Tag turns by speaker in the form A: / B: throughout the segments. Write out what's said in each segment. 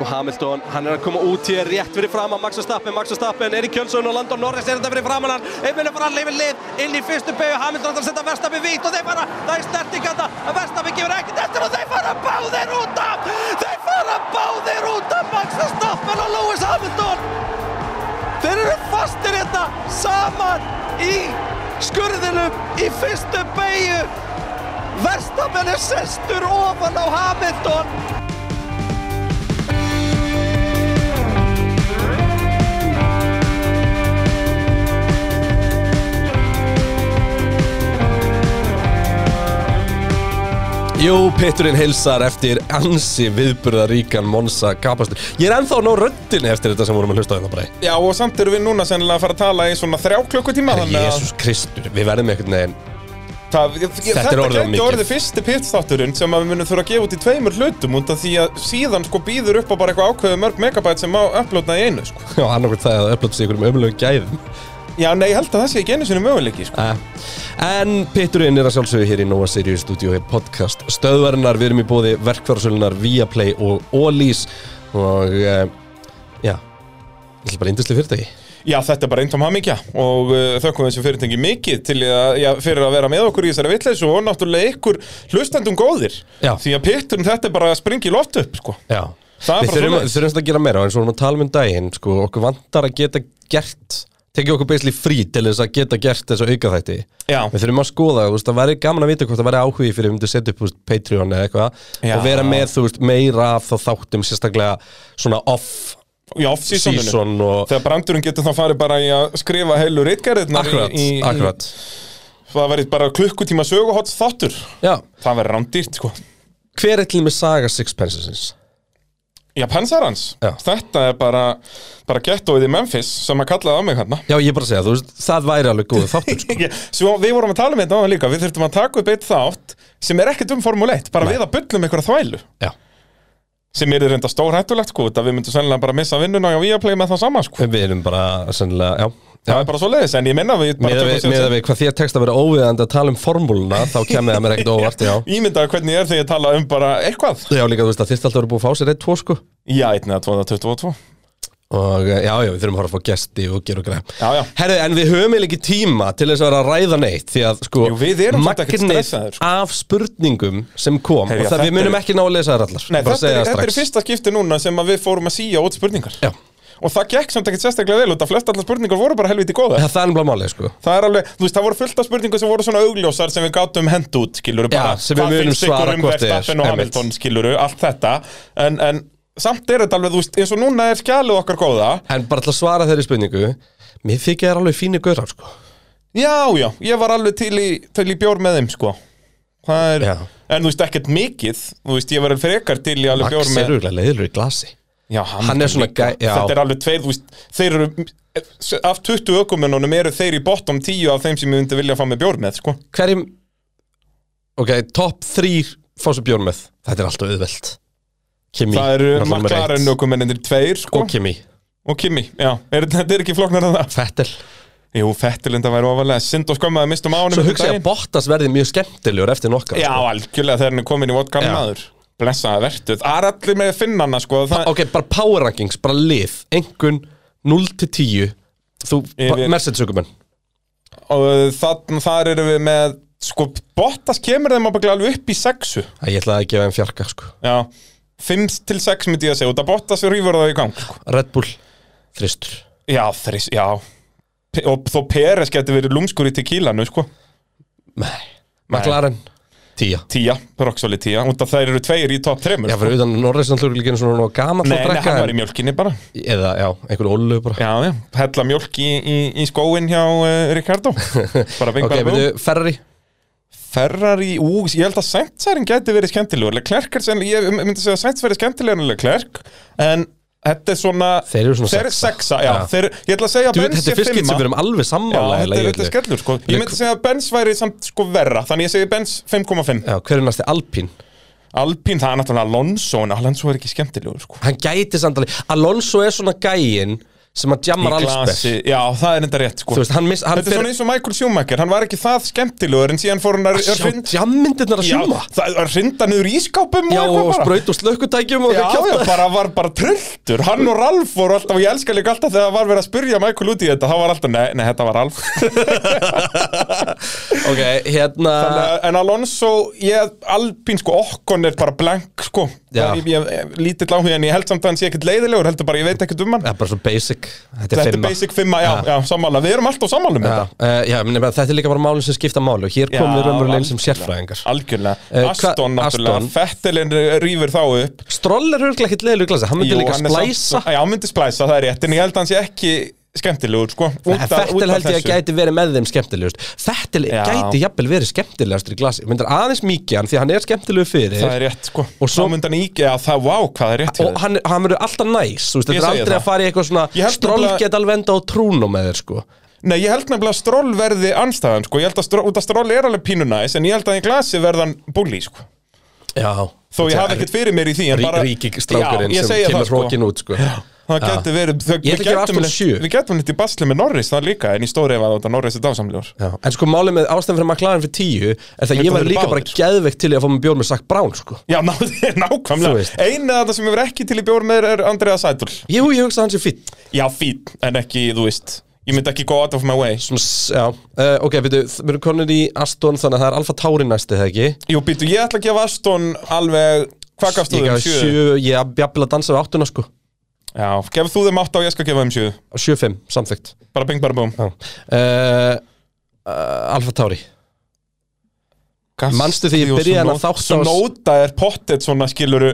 A: og Hamilton, hann er að koma út hér rétt fyrir fram að Max Verstappen, Max Verstappen er í kjölsögun og Landon Norris er þetta fyrir framan hann einminn er bara að lifa lið inn í fyrstu begu Hamilton ætlar að setja Verstappen vítt og þeir fara það er snerting hann að Verstappen gefur ekkert eftir og þeir fara báðir út af þeir fara báðir út af Max Verstappen og Lewis Hamilton þeir eru fastir hérna saman í skurðinum í fyrstu begu Verstappen er sestur ofan á Hamilton
B: Jú, Peturinn heilsar eftir ansi viðburðaríkan Monsa kapastur. Ég er ennþá að ná röddinni eftir þetta sem vorum að hlusta á hérna bara.
C: Já, og samt erum við núna sennilega að fara að tala í svona þrjá klukkutíma
B: Herra,
C: þannig að
B: Jésús Kristur, við verðum einhvern veginn.
C: það, ég, ég,
B: Þetta er
C: Þetta
B: orðið of
C: gæti
B: mikið.
C: orðið fyrsti pitstátturinn sem að við munum þurfa að gefa út í tveimur hlutum út af því að síðan sko býður upp á bara eitthvað ákveðu mörg megabæt sem má upplóta í einu sko.
B: Já, annarkvæmt það að upplöpsi ykkur um ömulegum gæðum.
C: Já, nei, ég held að það sé ekki einu sinni möguleiki sko.
B: Eh, En Peturinn er að sjálfsögðu hér í Nova Sirius stúdíu í podcast stöðvarinnar. Við erum í bóði verkfærsölunar Viaplay og Ólís og eh, já, þetta er bara indisli fyrirtæki.
C: Já, þetta er bara eintóm hamingja og uh, þökkum þessu fyrirtengi mikið til að, já, fyrir að vera með okkur í þessari vitleysu og náttúrulega ykkur hlustendum góðir
B: Já.
C: því að pitturinn þetta er bara að springi loft upp sko.
B: Já,
C: Það er
B: við
C: bara
B: þurfum,
C: svoleiðis.
B: við þurfum að gera meira eins og við vorum að tala um daginn, sko, okkur vantar að geta gert tekið okkur beisli frí til þess að geta gert þess að auka þætti
C: Já.
B: við þurfum að skoða, þú veist, það væri gaman að vita hvort það væri áhugi fyrir að við myndum setja upp þú veist, Patreon eða eitthvað
C: Já.
B: og vera með, þú veist, meira af þá þáttum sérstaklega svona off
C: í off-seasoninu
B: season og
C: Þegar brandurinn getur þá farið bara í að skrifa heilu reitgerðirnar í-
B: akkurat,
C: í, í,
B: akkurat
C: Það verið bara klukkutíma söguhóts þáttur
B: Já,
C: Það verið rándýrt sko
B: hver er til með saga Sixpensesins?
C: Já, pensarans
B: Já.
C: Þetta er bara, bara gettóið í Memphis sem að kallaði á mig hérna
B: Já, ég er bara að segja, þú veist, það væri alveg góð þáttur, sko.
C: Svo við vorum að tala um þetta áðan líka Við þurftum að taka upp eitt þátt sem er ekkert um Formule 1 Bara við að bullum einhverja þvælu
B: Já,
C: sem er reynda stór hættulegt sko Það við myndum sennilega bara missa vinnuna og ég að playa með það sama sko
B: við erum bara sennilega, já, já.
C: Það er bara svo leiðis en ég minna við bara
B: Miða
C: tökum
B: við,
C: sér-
B: miða við hvað þér tekst að vera óviðandi að tala um formúluna þá kemur það mér ekkert óvart, já
C: Ímyndaðu hvernig ég er þegar ég tala um bara eitthvað
B: Já, líka þú veist að þyrst alltaf að vera búið að fá sér eitt, tvo sko
C: Já, 1 eða 2 eða 22
B: og eh, já, já, við þurfum að fara að fá gesti og gera og greið
C: Já, já.
B: Herðu, en við höfum eiginlega ekki tíma til þess að vera að ræða neitt því að sko,
C: Jú, við erum samt ekkert
B: magnið
C: stressaðir, sko.
B: af spurningum sem kom
C: Herri, já,
B: og það við
C: þetta
B: munum
C: er-
B: ekki ná að lesa þær allar
C: Nei,
B: bara
C: þetta
B: segja
C: er,
B: það
C: þetta er
B: strax
C: fyrsta skipti núna sem að við fórum að síja út spurningar
B: Já,
C: Og það gekk samt ekkert sérstaklega vel út að flest allar spurningar voru bara helviti góða
B: það það er ennblá málið sko
C: Það er alveg, þú veist, það voru fullt af spurningar sem voru svona augljósar sem við gátum hend út, skiluru
B: Já,
C: bara,
B: sem við
C: hvað
B: munum
C: finnst ykkur
B: svara
C: um
B: hvort er,
C: Verstappen og
B: einmitt.
C: Hamilton, skiluru, allt þetta en, en samt er þetta alveg, þú veist, eins og núna er skjalið okkar góða
B: En bara til að svara þeirri spurningu Mér þykja þær alveg fínir gaurar sko
C: Já, já, ég var alveg til í, til í bjór með þeim, sko Það er,
B: Já.
C: en þú veist, ekkert mikið þú veist, ég var alveg frekar til í alveg
B: Max
C: bjór
B: er
C: með
B: auðvitað leiðilur í glasi
C: Já,
B: Hann er svona
C: líka.
B: gæ- já.
C: Þetta er alveg tveir, þú veist, þeir eru af 20 ökumennunum eru þeir í bottom 10 af þeim sem ég myndi vilja að fá með bjór með, sko
B: hverjum ok, topp þrýr fá sér bjórn með þetta er alltaf auðvelt Kimi,
C: Það eru
B: náttúrulega númer
C: McLaren
B: eitt.
C: ökumennir tveir, sko
B: og Kimi,
C: og Kimi, já, er, þetta er ekki flóknar að það
B: Fettel
C: Jú, Fettilinda væri ofalega sind og skömmaði mistum á honum
B: svo
C: um
B: hugsa ég
C: daginn.
B: að Bottas verði mjög skemmtilegur eftir sko. nokkar
C: Já, algjörlega þegar hann er komin í vodka
B: Já.
C: maður Blessaði vertuð, það er allir með finnana, sko það,
B: ok, bara power rankings, bara lið einhvern 0-10 þú,
C: Yfir-
B: Mercedes-sökumenn
C: og uh, það, þar eru við með sko, Bottas kemur þeim ábyggilega alveg upp í sexu
B: Æ, ég ætlaði að gefa þeim fjarka sko.
C: Já, 5 til 6 myndi ég að segja, út að Bottas rýfur það í gang, sko
B: Red Bull, þristur
C: Já, þrís, já P- Og þó Peres getur verið lúmskur í tequilanu, sko
B: nei, McLaren 10
C: Tía, Roxoli tía Út að þær eru tveir í top 3
B: Já, fyrir utan Norris náttúrulega líka einu svona nógu gamall
C: sko- Nei, nei,
B: að
C: hann
B: drekka
C: var í mjölkinni bara
B: en- eða, já, einhver ólu bara
C: Já, já, hella mjölk í, í, í skóin hjá uh, Ricardo Bara
B: Ok,
C: vingar
B: byrju, Ferrari
C: Ferrari, ú, ég held að Sainzærin geti verið skemmtilegur Leclerc er sennilega, ég myndi segja að Sainz verið skemmtilegur en Leclerc En þetta er svona
B: Þeir eru svona
C: Þeir eru
B: sexa.
C: sexa, já,
B: Já.
C: Þeir, Ég ætla að segja að
B: Duð,
C: Benz
B: þetta er
C: sé
B: fyrst skitt sem
C: fimma.
B: við erum alveg
C: Já,
B: sammála
C: þetta
B: eiginlega
C: er
B: í
C: eitthvað
B: öllu.
C: skellur, sko Ég myndi segja að Benz væri samt sko verra Þannig ég segi Benz 5,5
B: Já, hver er næsti Alpín?
C: Alpín, það er náttúrulega Alonso en Alonso er ekki skemmtilegur sko.
B: Hann gæti samt alveg Alonso er svona gæin sem hann
C: Í
B: jammar allsberg
C: glasi, já, það er enda rétt sko
B: Þú veist, hann miss- hann
C: Þetta er
B: fer-
C: svona eins og Michael Schumacher, hann var ekki það skemmtilegur en síðan fór hann að að
B: Sjá
C: hrinda-
B: jammindirnar að
C: Já,
B: sjúma
C: það var hrinda niður í skápum
B: Já,
C: eitthvað
B: og
C: bara.
B: spraut og slökkutækjum og
C: Já,
B: eitthvað
C: já,
B: kjafta.
C: bara var bara trulltur Hann og Ralf voru alltaf, og ég elska líka alltaf þegar var verið að spyrja Michael út í þetta, hann var alltaf, nei, nei, þetta var Ralf
B: Ok, hérna
C: Þannig að- En Alonso, ég, Alpín sko, okkon er bara blank sko
B: Já.
C: ég, ég, ég, Lítill áhuga en ég held samt að hann sé ekkert leiðilegur, heldur bara, ég veit ekkert um hann
B: Það er bara svo basic Þetta er
C: Þetta er
B: fimma
C: basic fimma, já, já,
B: Já.
C: sammála Við erum alltaf sammála um
B: Já,
C: þetta
B: uh, já meni, bara, þetta er líka bara málum sem skipta máli og hér
C: Já,
B: komum við raunverulegin sem
C: algjörlega.
B: sérfræðingar
C: Algjörlega,
B: Eh,
C: Aston
B: hva-
C: náttúrulega
B: Aston.
C: Fettilinn rýfur þá upp
B: Stroll er örglega ekkit leðilega glasa, hann myndi
C: Jú,
B: líka
C: hann er samt-
B: splæsa
C: Já, hann myndi splæsa, það er rétt, en ég held að hann sé ekki skemmtilegur, sko út af- út
B: Fettil
C: af
B: held ég að
C: þessu.
B: gæti verið með þeim skemmtilegust Fettil
C: Já.
B: gæti jafnvel verið skemmtilegastur í glasi myndar aðeins mikið hann því hann er skemmtilegu fyrir
C: Það er rétt, sko
B: Og svo-
C: Þá myndi hann íkja, já, það, vá, hvað er rétt hjá
B: og
C: þér.
B: hann, hann verður alltaf næs þú
C: Ég
B: veist, þetta er
C: segi
B: aldrei
C: það.
B: að fara í eitthvað
C: Ég
B: svona
C: held
B: Stroll
C: nefnilega-
B: get alveg enda á trúnum með þér sko
C: Nei, ég held nefnilega að stról verði anstæðan, sko Ég held að stról, út að stról er alveg pínu næs En ég held að í glasi verðan bulli, sko
B: Já
C: Þó ég hafði ekkert fyrir mér í því en
B: Rí-
C: bara,
B: ríkistrákurinn
C: Já, ég
B: sem
C: segi
B: kemur
C: það, sko.
B: hrokin út, sko.
C: Já, Það
B: Já.
C: gæti verið þau-
B: Ég ætla
C: Við
B: að gera
C: gætum
B: Aston sjö.
C: litt- við gætum litt í basli með Norris, það líka En í stóri ef að þetta Norris er dásamlegur
B: Já. En sko málið með ástæðan fyrir McLaren fyrir tíu er það
C: Ég
B: að ég
C: held að
B: var
C: þeir
B: líka bara
C: báðir.
B: geðveikt til í að fá með bjór með Sack Brown sko.
C: Já, ná, nákvæmlega
B: Þú veist.
C: Einu þetta sem hefur ekki til í bjór með er Andrea Sætul
B: Jú, ég hugsa að hann sé fýtt
C: Já, fín, en ekki, þú veist Ég myndi ekki go out of my way
B: Svona, s- já, uh, ok, byrju, þ- við erum konin í Aston þannig að það er Alfa Tauri næsti, það ekki?
C: Jú, býtu, ég ætla að gefa Aston alveg Hvað gafst þú
B: Ég
C: þeim?
B: gaf sjö, ég jafnvel að dansa við áttuna sko,
C: Já, gef þú þeim 8 og ég skal gefa þeim 7
B: Á sjö fimm, samþygt.
C: Bara bing, bara búm
B: Já. Uh, uh, Alfa Tauri, Manstu því ég byrjaði hennar þátt á-
C: Snóta er pottet svona skiluru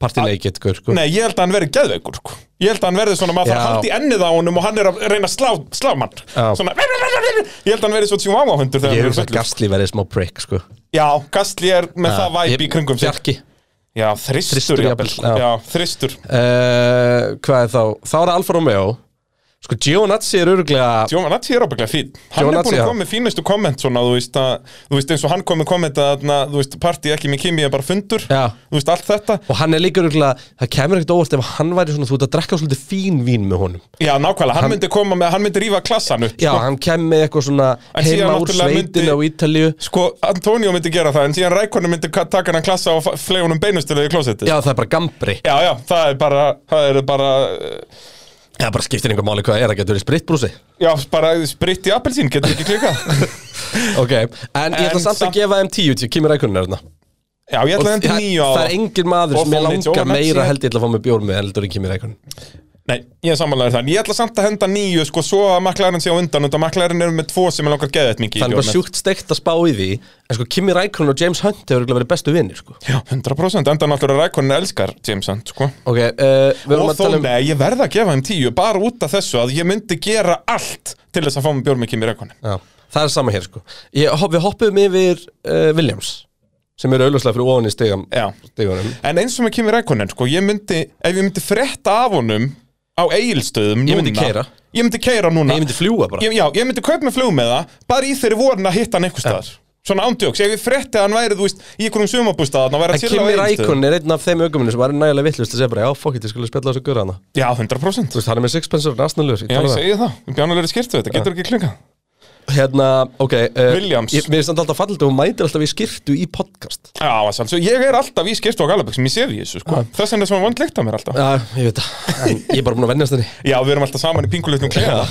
B: partileikit, gaur, sko.
C: Nei, ég held að hann verði geðveikur sko. Ég held að hann verði svona, maður þarf
B: Já.
C: að halda í ennið á honum og hann er að reyna að slá, slá mann
B: Já.
C: Svona, ég held að hann verði svo tjúma áhundur
B: Ég
C: þegar hann
B: hugsa að
C: verður fullur.
B: Gastli verið smá prick, sko.
C: Já, Gastli er með það
B: Ég-
C: væp í kringum sig
B: Bjarki.
C: Já, þristur,
B: Þristur
C: jafnvel,
B: jafnvel,
C: sko.
B: já.
C: Já, þristur
B: Uh, hvað er þá? Þá er það Alfa Romeo. Sko, Giovinazzi er öruglega...
C: Giovanazzi er ábygglega fín Hann er
B: Giovinazzi,
C: búin
B: já.
C: að koma með fínustu komment svona, þú veist, að, þú veist eins og hann kom með komment að na, þú veist, partí ekki með Kimi er bara fundur
B: Já.
C: Þú veist, allt þetta
B: Og hann er líka öruglega, það kemur ekkert óvart ef hann væri svona, þú ert að drekka svolítið fín vín með honum.
C: Já, nákvæmlega, hann, myndi koma með, hann myndi rífa klassan upp
B: Já,
C: sko.
B: hann kemur með eitthvað svona
C: En síðan
B: heima úr
C: náttúrulega myndi-
B: sveitinu á Ítalíu.
C: Sko, Antonio myndi gera það, en síðan Rækonu myndi ka- taka hann klassa og flegi honum beinustulega í klósettið
B: Já, það er bara gambri.
C: já, já, það er bara, það er bara uh,
B: Já, bara skiptir einhver máli hvað það er, það getur verið spritbrúsi
C: Já, bara spritt í appelsín, getur ekki klikað
B: Ok, en ég
C: En
B: ætla samt
C: samt-
B: að gefa þeim 10 tíu, kemur rækunnar þarna
C: Já, ég ætla að hendi
B: það,
C: nýja á
B: það er engin maður
C: Og
B: sem ég
C: Foley
B: langar
C: Jovan
B: meira
C: síðan.
B: held ég ætla að fá með bjór með heldur en kemur rækunnar
C: Nei, ég er samanlega þann Ég ætla samt að henda nýju, sko, svo að McLaren sé á undan Út að McLaren eru með tvo sem er langar geðið mikið í
B: Það er bara
C: bjórnum.
B: sjúkt steikt að spá í því En sko, Kimi Rækunn og James Hunt hefur örugglega verið bestu vinnir sko.
C: Já, 100% Enda náttúrulega Rækonin elskar Jameson, sko
B: Ok, uh, við erum
C: Og
B: að
C: þó,
B: tala um
C: nei, ég verða að gefa þeim tíu Bara út af þessu að ég myndi gera allt Til þess að fá með bjórn með Kimi Rækonin
B: Já, það er sama hér sko ég, hopp, Við hoppum yfir uh, Williams sem eru auðvitað fyrir ofan í stigam,
C: Já.
B: stigunum
C: En eins og með Kimi Rækonin, sko Ég myndi, ef ég myndi frétta af honum Á eigilstöðum núna
B: Ég myndi keyra.
C: Ég myndi keira núna
B: Nei, ég myndi fljúga bara
C: ég, Já, ég myndi kaup með flug með það Bara í þeirri vorn að hitta hann einhvers staðar Svona ándjóks, ef ég frétti að hann væri, þú veist, í einhverjum sumabústaðan að vera
B: En
C: til á
B: Kimi
C: Egilsstöðum.
B: Rækunn er einn af þeim öguminu sem var nægilega vittlust að segja bara, já, fokkitt, ég skulle spjalla þessu gura hana
C: Já, 100%
B: Þú veist, hann er með sixpensur og rasnalur
C: Já, ég segi það, bjánulegri skirtu þetta, getur ekki klingað
B: Hérna, ok uh,
C: Williams.
B: ég, Mér er samt alltaf fallið og hún mætir alltaf í skirtu í podcast
C: Já, alveg, ég er alltaf í skirtu á Galaböksum, ég sé því þessu, sko Þess vegna er svona vond lykt af mér alltaf
B: Já, ég veit það En ég er bara búin að vennjast henni
C: Já, við erum alltaf saman í pingulutnum klefa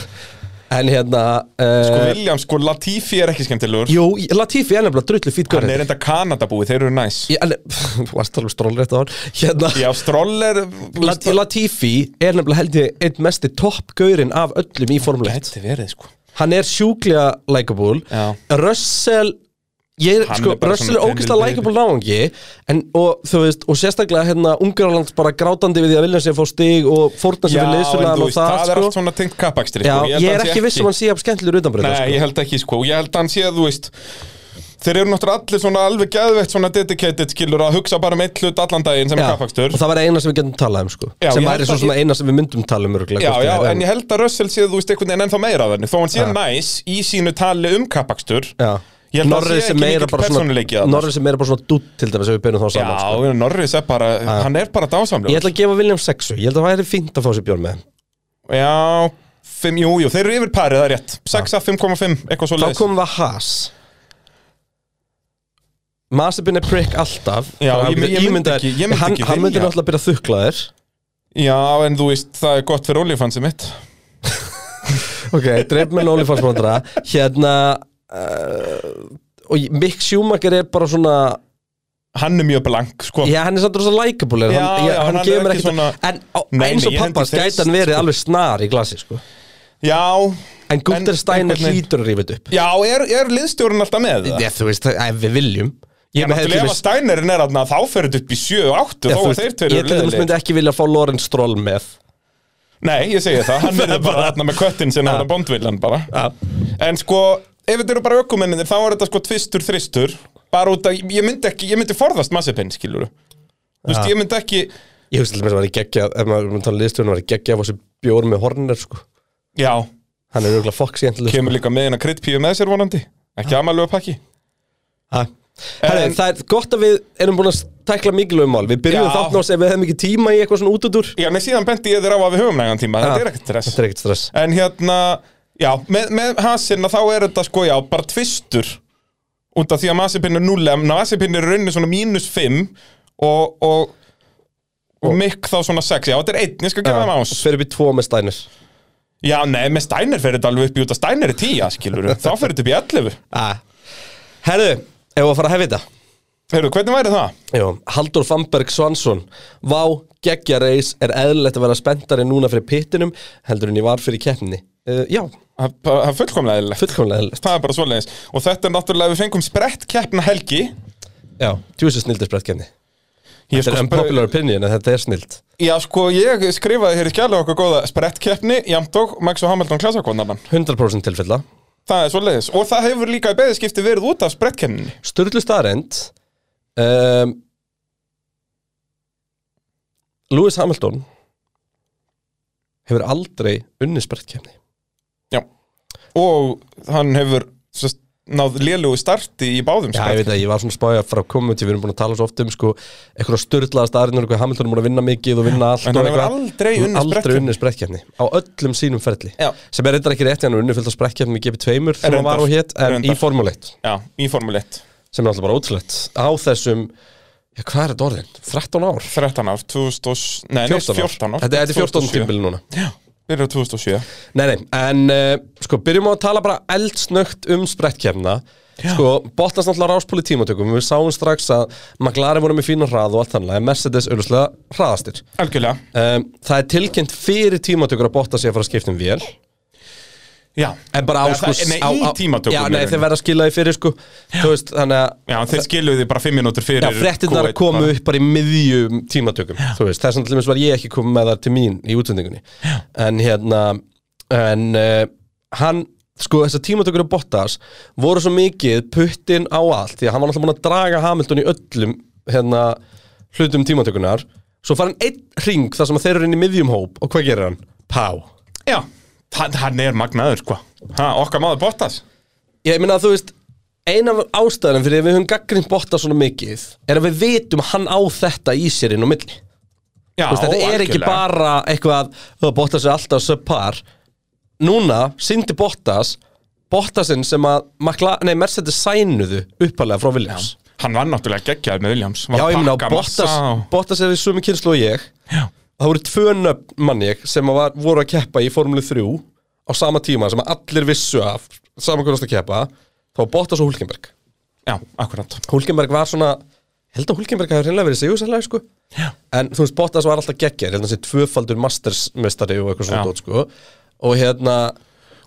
B: En hérna uh,
C: Sko, William, sko, Latifi er ekki skemmtilegur
B: Jú, Latifi er nefnilega drullu fýt
C: Hann
B: gurri
C: er enda Kanadabúi, þeir eru næs
B: Ég, en, þú varst alveg stról rétt á hann Hérna,
C: Já, Stroll er
B: Lat Latifi er nefnilega held ég einn mesti toppgaurin af öllum í Formule 1
C: Gæti verið, sko
B: Hann er sjúklega likeable
C: Já.
B: Russell ég, er-
C: Hann
B: sko,
C: er bara
B: Russell er
C: svona
B: ógeðslega
C: tennil-
B: likeable náungi en, og, þú veist, og sérstaklega hérna Ungarland bara grátandi við því að vilja sér fá stig og fórna sér
C: Já,
B: við
C: en þú
B: leysulega og
C: veist,
B: það,
C: það er
B: sko.
C: allt svona tengt kapakstri
B: Já,
C: sko. held
B: ég,
C: að
B: er
C: hann sé
B: ekki viss um hann sé af skemmtilegur utanbreyta
C: Nei,
B: sko.
C: ég held ekki, sko, ég held að hann sé, þú veist Þeir eru náttúrulega allir svona alveg geðveitt svona dedicated skilur að hugsa bara um eitt hlut allan daginn sem
B: Já,
C: er
B: og
C: kapakstur
B: það var eina sem við getum talað um sko.
C: Já,
B: sem
C: ég
B: væri
C: held
B: svo
C: að-
B: svona eina sem við myndum tala um örgulega,
C: Já, já, en ég held að Russell sé, þú veist, einhvern veginn ennþá meira af henni Þó hann sé
B: Já.
C: næs í sínu tali um kapakstur
B: já.
C: Ég held að það
B: Norris
C: sé
B: er
C: ekki
B: meira
C: mikill
B: bara svona
C: persónuleiki þarna. sko.
B: Norris er meira bara svona dutt til dæmis sem við byrjum þá
C: Já,
B: saman sko.
C: Norris er bara, hann er bara dásamlega
B: Ég ætla að gefa William sexu, ég held að það væri fínt að fá sér björn með hann.
C: Já, 5, jú, jú, þeir eru yfir parið, það er rétt 6 að 5,5, eitthvað svo
B: Þá
C: leiðis
B: komum við að Haas Masipin er prick alltaf
C: Já,
B: Þannig að
C: ég- ég
B: þú getur
C: myndi
B: ímyndað
C: ekki-
B: þér-
C: ég myndi
B: hann,
C: ekki
B: Hann myndi
C: vilja.
B: náttúrulega byrja að þukla þér
C: Já, en þú veist, það er gott fyrir olífansi mitt
B: Ok, dreif með Nólifarsmandra Hérna uh, Og ég- Mick Schumacher er bara svona
C: Hann er mjög blank, sko
B: Já, hann er samt rosa likeable er
C: Já,
B: hann,
C: já, hann er
B: gefur mér
C: ekki
B: ekkert-
C: svona-
B: En á,
C: Nei,
B: eins
C: nei,
B: og
C: ég
B: pappas
C: hendi
B: gæti hann
C: fyrst,
B: verið
C: sko.
B: alveg snar í glasi sko.
C: Já,
B: En Gunther Steiner
C: einhvern veginn-
B: hlýtur að rífa þetta upp
C: já, er, er liðstjórinn alltaf með það?
B: Já, þú veist, það- ef við viljum Ég
C: En
B: hefði til
C: náttúrulega ef
B: dæmis-
C: að Steinerinn er aðna, þá fer þetta upp í 7 og 8
B: Já,
C: Þá
B: þú
C: er
B: veist,
C: þeir tveir
B: Ég til dæmis myndi
C: liðleir
B: ekki vilja fá Lorenz Stroll með
C: Nei, ég segi það, hann verður bara aðna með köttin sinna hann bondvillan bara En sko, ef þetta eru bara ökumenninir, þá er þetta sko tvistur, þristur Bara út að, ég myndi ekki, ég myndi forðast massipinn, skilur Þú veist, ég myndi ekki
B: Ég hugsa til þess að var í geggja Ef maður myndi tala liðstjóðan var í geggja Af þessu bjór með hornir sko
C: Já,
B: Hann er auðvitað foxy endilega
C: kemur líka með hérna kryddpíu með sér vonandi Ekki amalögu pakki
B: Herri,
C: En-
B: það er gott að við erum búin að tækla mikilvægum mál Við byrjum
C: Já.
B: þátt náttúrulega ef við hefum ekki tíma í eitthvað svona út út úr
C: Já, nei, síðan benti ég þér á að við höfum nægan tíma, þetta
B: Já.
C: er ekkert stress
B: Þetta er ekkert stress
C: En hérna, já, með, með hasirna þá er þetta sko, já, bara tvistur Út af því að masipinn er null En masipinn er rauninni svona mínus 5 Og, og, og mikk þá svona 6 Já, þetta er einn, ég skal gefa þeim ás
B: Fyrir upp í tvo með Steiner
C: Já, nei, með Steiner fer þetta alveg upp í út af Steiner er 10, skilur Þá fer þetta upp í 11
B: ah. Herðu, ef við að fara að hefja þetta
C: Heyrðu, hvernig væri það?
B: Jó, Haldur Fannberg Svansson Vá, geggja reis er eðlilegt að vera spenntari núna fyrir pittinum heldur en ég var fyrir keppninni uh, Já,
C: Það það er fullkomlega eðlilegt
B: fullkomlega eðlilegt
C: Það er bara svoleiðis Og þetta er náttúrulega, við fengum sprett keppna helgi
B: Já, djúsi snildur sprett keppni
C: Ég
B: Þetta er
C: sko spre-
B: unpopular opinion en þetta er snild
C: Já, sko, ég skrifaði hér í skjælega okkar góða sprettkeppni, jamt og Max og Hamilton klasakvondarmann.
B: 100% tilfella
C: Það er svo leiðis. Og það hefur líka í beðiskipti verið út af sprettkeppninni.
B: Sturlu staðrend um, Lewis Hamilton hefur aldrei unni sprett keppni
C: Já. Og hann hefur sest, náð lélugu starti í báðum
B: Já, ég veit
C: sprettkeppni.
B: að ég var svona spája frá komið til við erum búin að tala svo oft um sko eitthvað störðlaða staðarinn og eitthvað Hamilton er búin að vinna mikið og vinna allt
C: En
B: og
C: hann hefur
B: eitthvað.
C: aldrei
B: Hann hefur
C: unnið
B: aldrei unni sprekkjafni á öllum sínum ferli
C: Já.
B: sem er reyndar ekki rétt, hann er unni fullt af sprekkjafni í GP2 sem hann
C: Reyndar.
B: var og hétt en
C: Reyndar.
B: í Formule 1
C: Já, í Formule 1.
B: sem er alltaf bara ótrúlegt á þessum, já, hvað er þetta orðin? 13 ár?
C: 13 ár, 2000 og... Nei, 14
B: 14 ár.
C: 14 ár.
B: Þetta þetta er 14
C: 2007.
B: tímbili núna
C: Já, byrjar 2007.
B: Nei, nei, en uh, sko, byrjum á að tala bara eldsnögt um sprettkefna Sko, Bottas náttúrulega ráspól í tímatökum Við sáum strax að McLaren voru með fína hrað og allt þannig En Mercedes auðvitað hraðastir
C: Algjörlega.
B: um, Það er tilkynnt fyrir tímatökur að Bottas sé að fara að skipta um vél
C: Já.
B: En bara á
C: Nei,
B: sko
C: það- nei,
B: á,
C: í
B: á-
C: tímatökum
B: Já,
C: í
B: nei,
C: rauninni.
B: þeir verða að skila því fyrir sko Þú veist, þannig að
C: Já, þeir skiluðu því bara 5 minútur fyrir...
B: Já, fréttinnar
C: Q1
B: komu
C: bara.
B: upp bara í miðjum tímatökum þú veist, þess að til dæmis var ég ekki komið með það til mín í útsendingunni en hérna en uh, hann, sko þessar tímatökur á Bottas voru svo mikið puttinn á allt því að hann var alltaf búin að draga Hamilton í öllum hérna hlutum tímatökunar svo fara hann einn ring þar sem að þeir eru inn í miðjum hóp og hvað gerir hann? Pá
C: Já, hann, hann er magnaður, sko. Ha, okkar maður Bottas.
B: Ég meina að þú veist Ein af ástæðanum fyrir að við höfum gaggrinn Bottas svona mikið er að við vitum að hann á þetta í sér inn á milli
C: Já,
B: Þú veist, þetta er ekki
C: algjörlega.
B: bara eitthvað að Bottas er alltaf subpar Núna, syndi Bottas Bottasinn sem að Makla, nei, Mercedes sænuðu uppalega frá Williams
C: Hann var náttúrulega geggjaður með Williams
B: Já,
C: var að
B: ég meina,
C: pakka
B: Bottas,
C: massa og-
B: Bottas er í sumi kynslu og ég
C: Já.
B: Það voru tvö nöfn manni sem að var, voru að keppa í Formule 3 á sama tíma sem að allir vissu af saman hvernig að keppa þá var Bottas og Hulkenberg
C: Já, akkurat
B: Hulkenberg var svona ég held að Hulkenberg hafi hreinlega verið sigursalega sko. en þú veist Bottas var alltaf geggjær ég held að hann sé tvöfaldur mastersmestari og eitthvað svona
C: Já.
B: dót sko. og hérna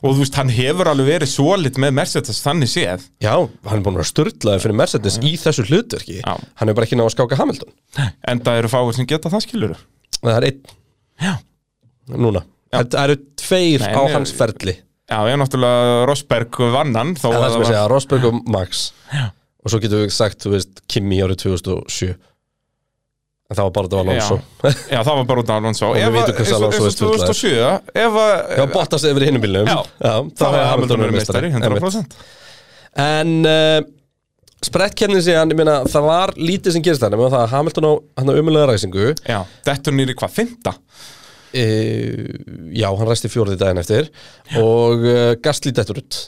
C: Og þú veist, hann hefur alveg verið svolít með Mercedes þannig séð
B: já, hann er búin að vera störtlaði fyrir Mercedes í þessu hlutverki
C: Já.
B: hann er bara ekki náð að skáka Hamilton
C: En það eru fáir sem geta það skilur
B: en það er einn
C: Já
B: núna það það eru tveir
C: Nei,
B: á
C: nei,
B: hans ferli
C: Já, ég er náttúrulega Rosberg vannan Þó
B: en það sem
C: var-
B: ég segja, Rosberg og Max og svo getum við sagt, þú veist, Kimi árið 2007 en það var bara þetta var Alonso já,
C: Já, það var bara út af Alonso
B: Og við
C: Ef að-
B: vitum hversu
C: eins og-
B: Alonso
C: eins og
B: er sturlaður.
C: 2007 Ef að
B: Bottas yfir hinnum bílnum
C: Já.
B: þá
C: Þá
B: hefði
C: hefði Hamilton verið
B: meistari,
C: meistari,
B: einmitt.
C: 100%
B: En uh, sprettkefnin síðan, ég meina, það var lítið sem gerist þannig, það að Hamilton á hann á umulega ræsingu
C: Já, þetta er nýri hvað, fymta
B: e, já, hann ræsti fjórði daginn eftir og uh, Gastli dettur út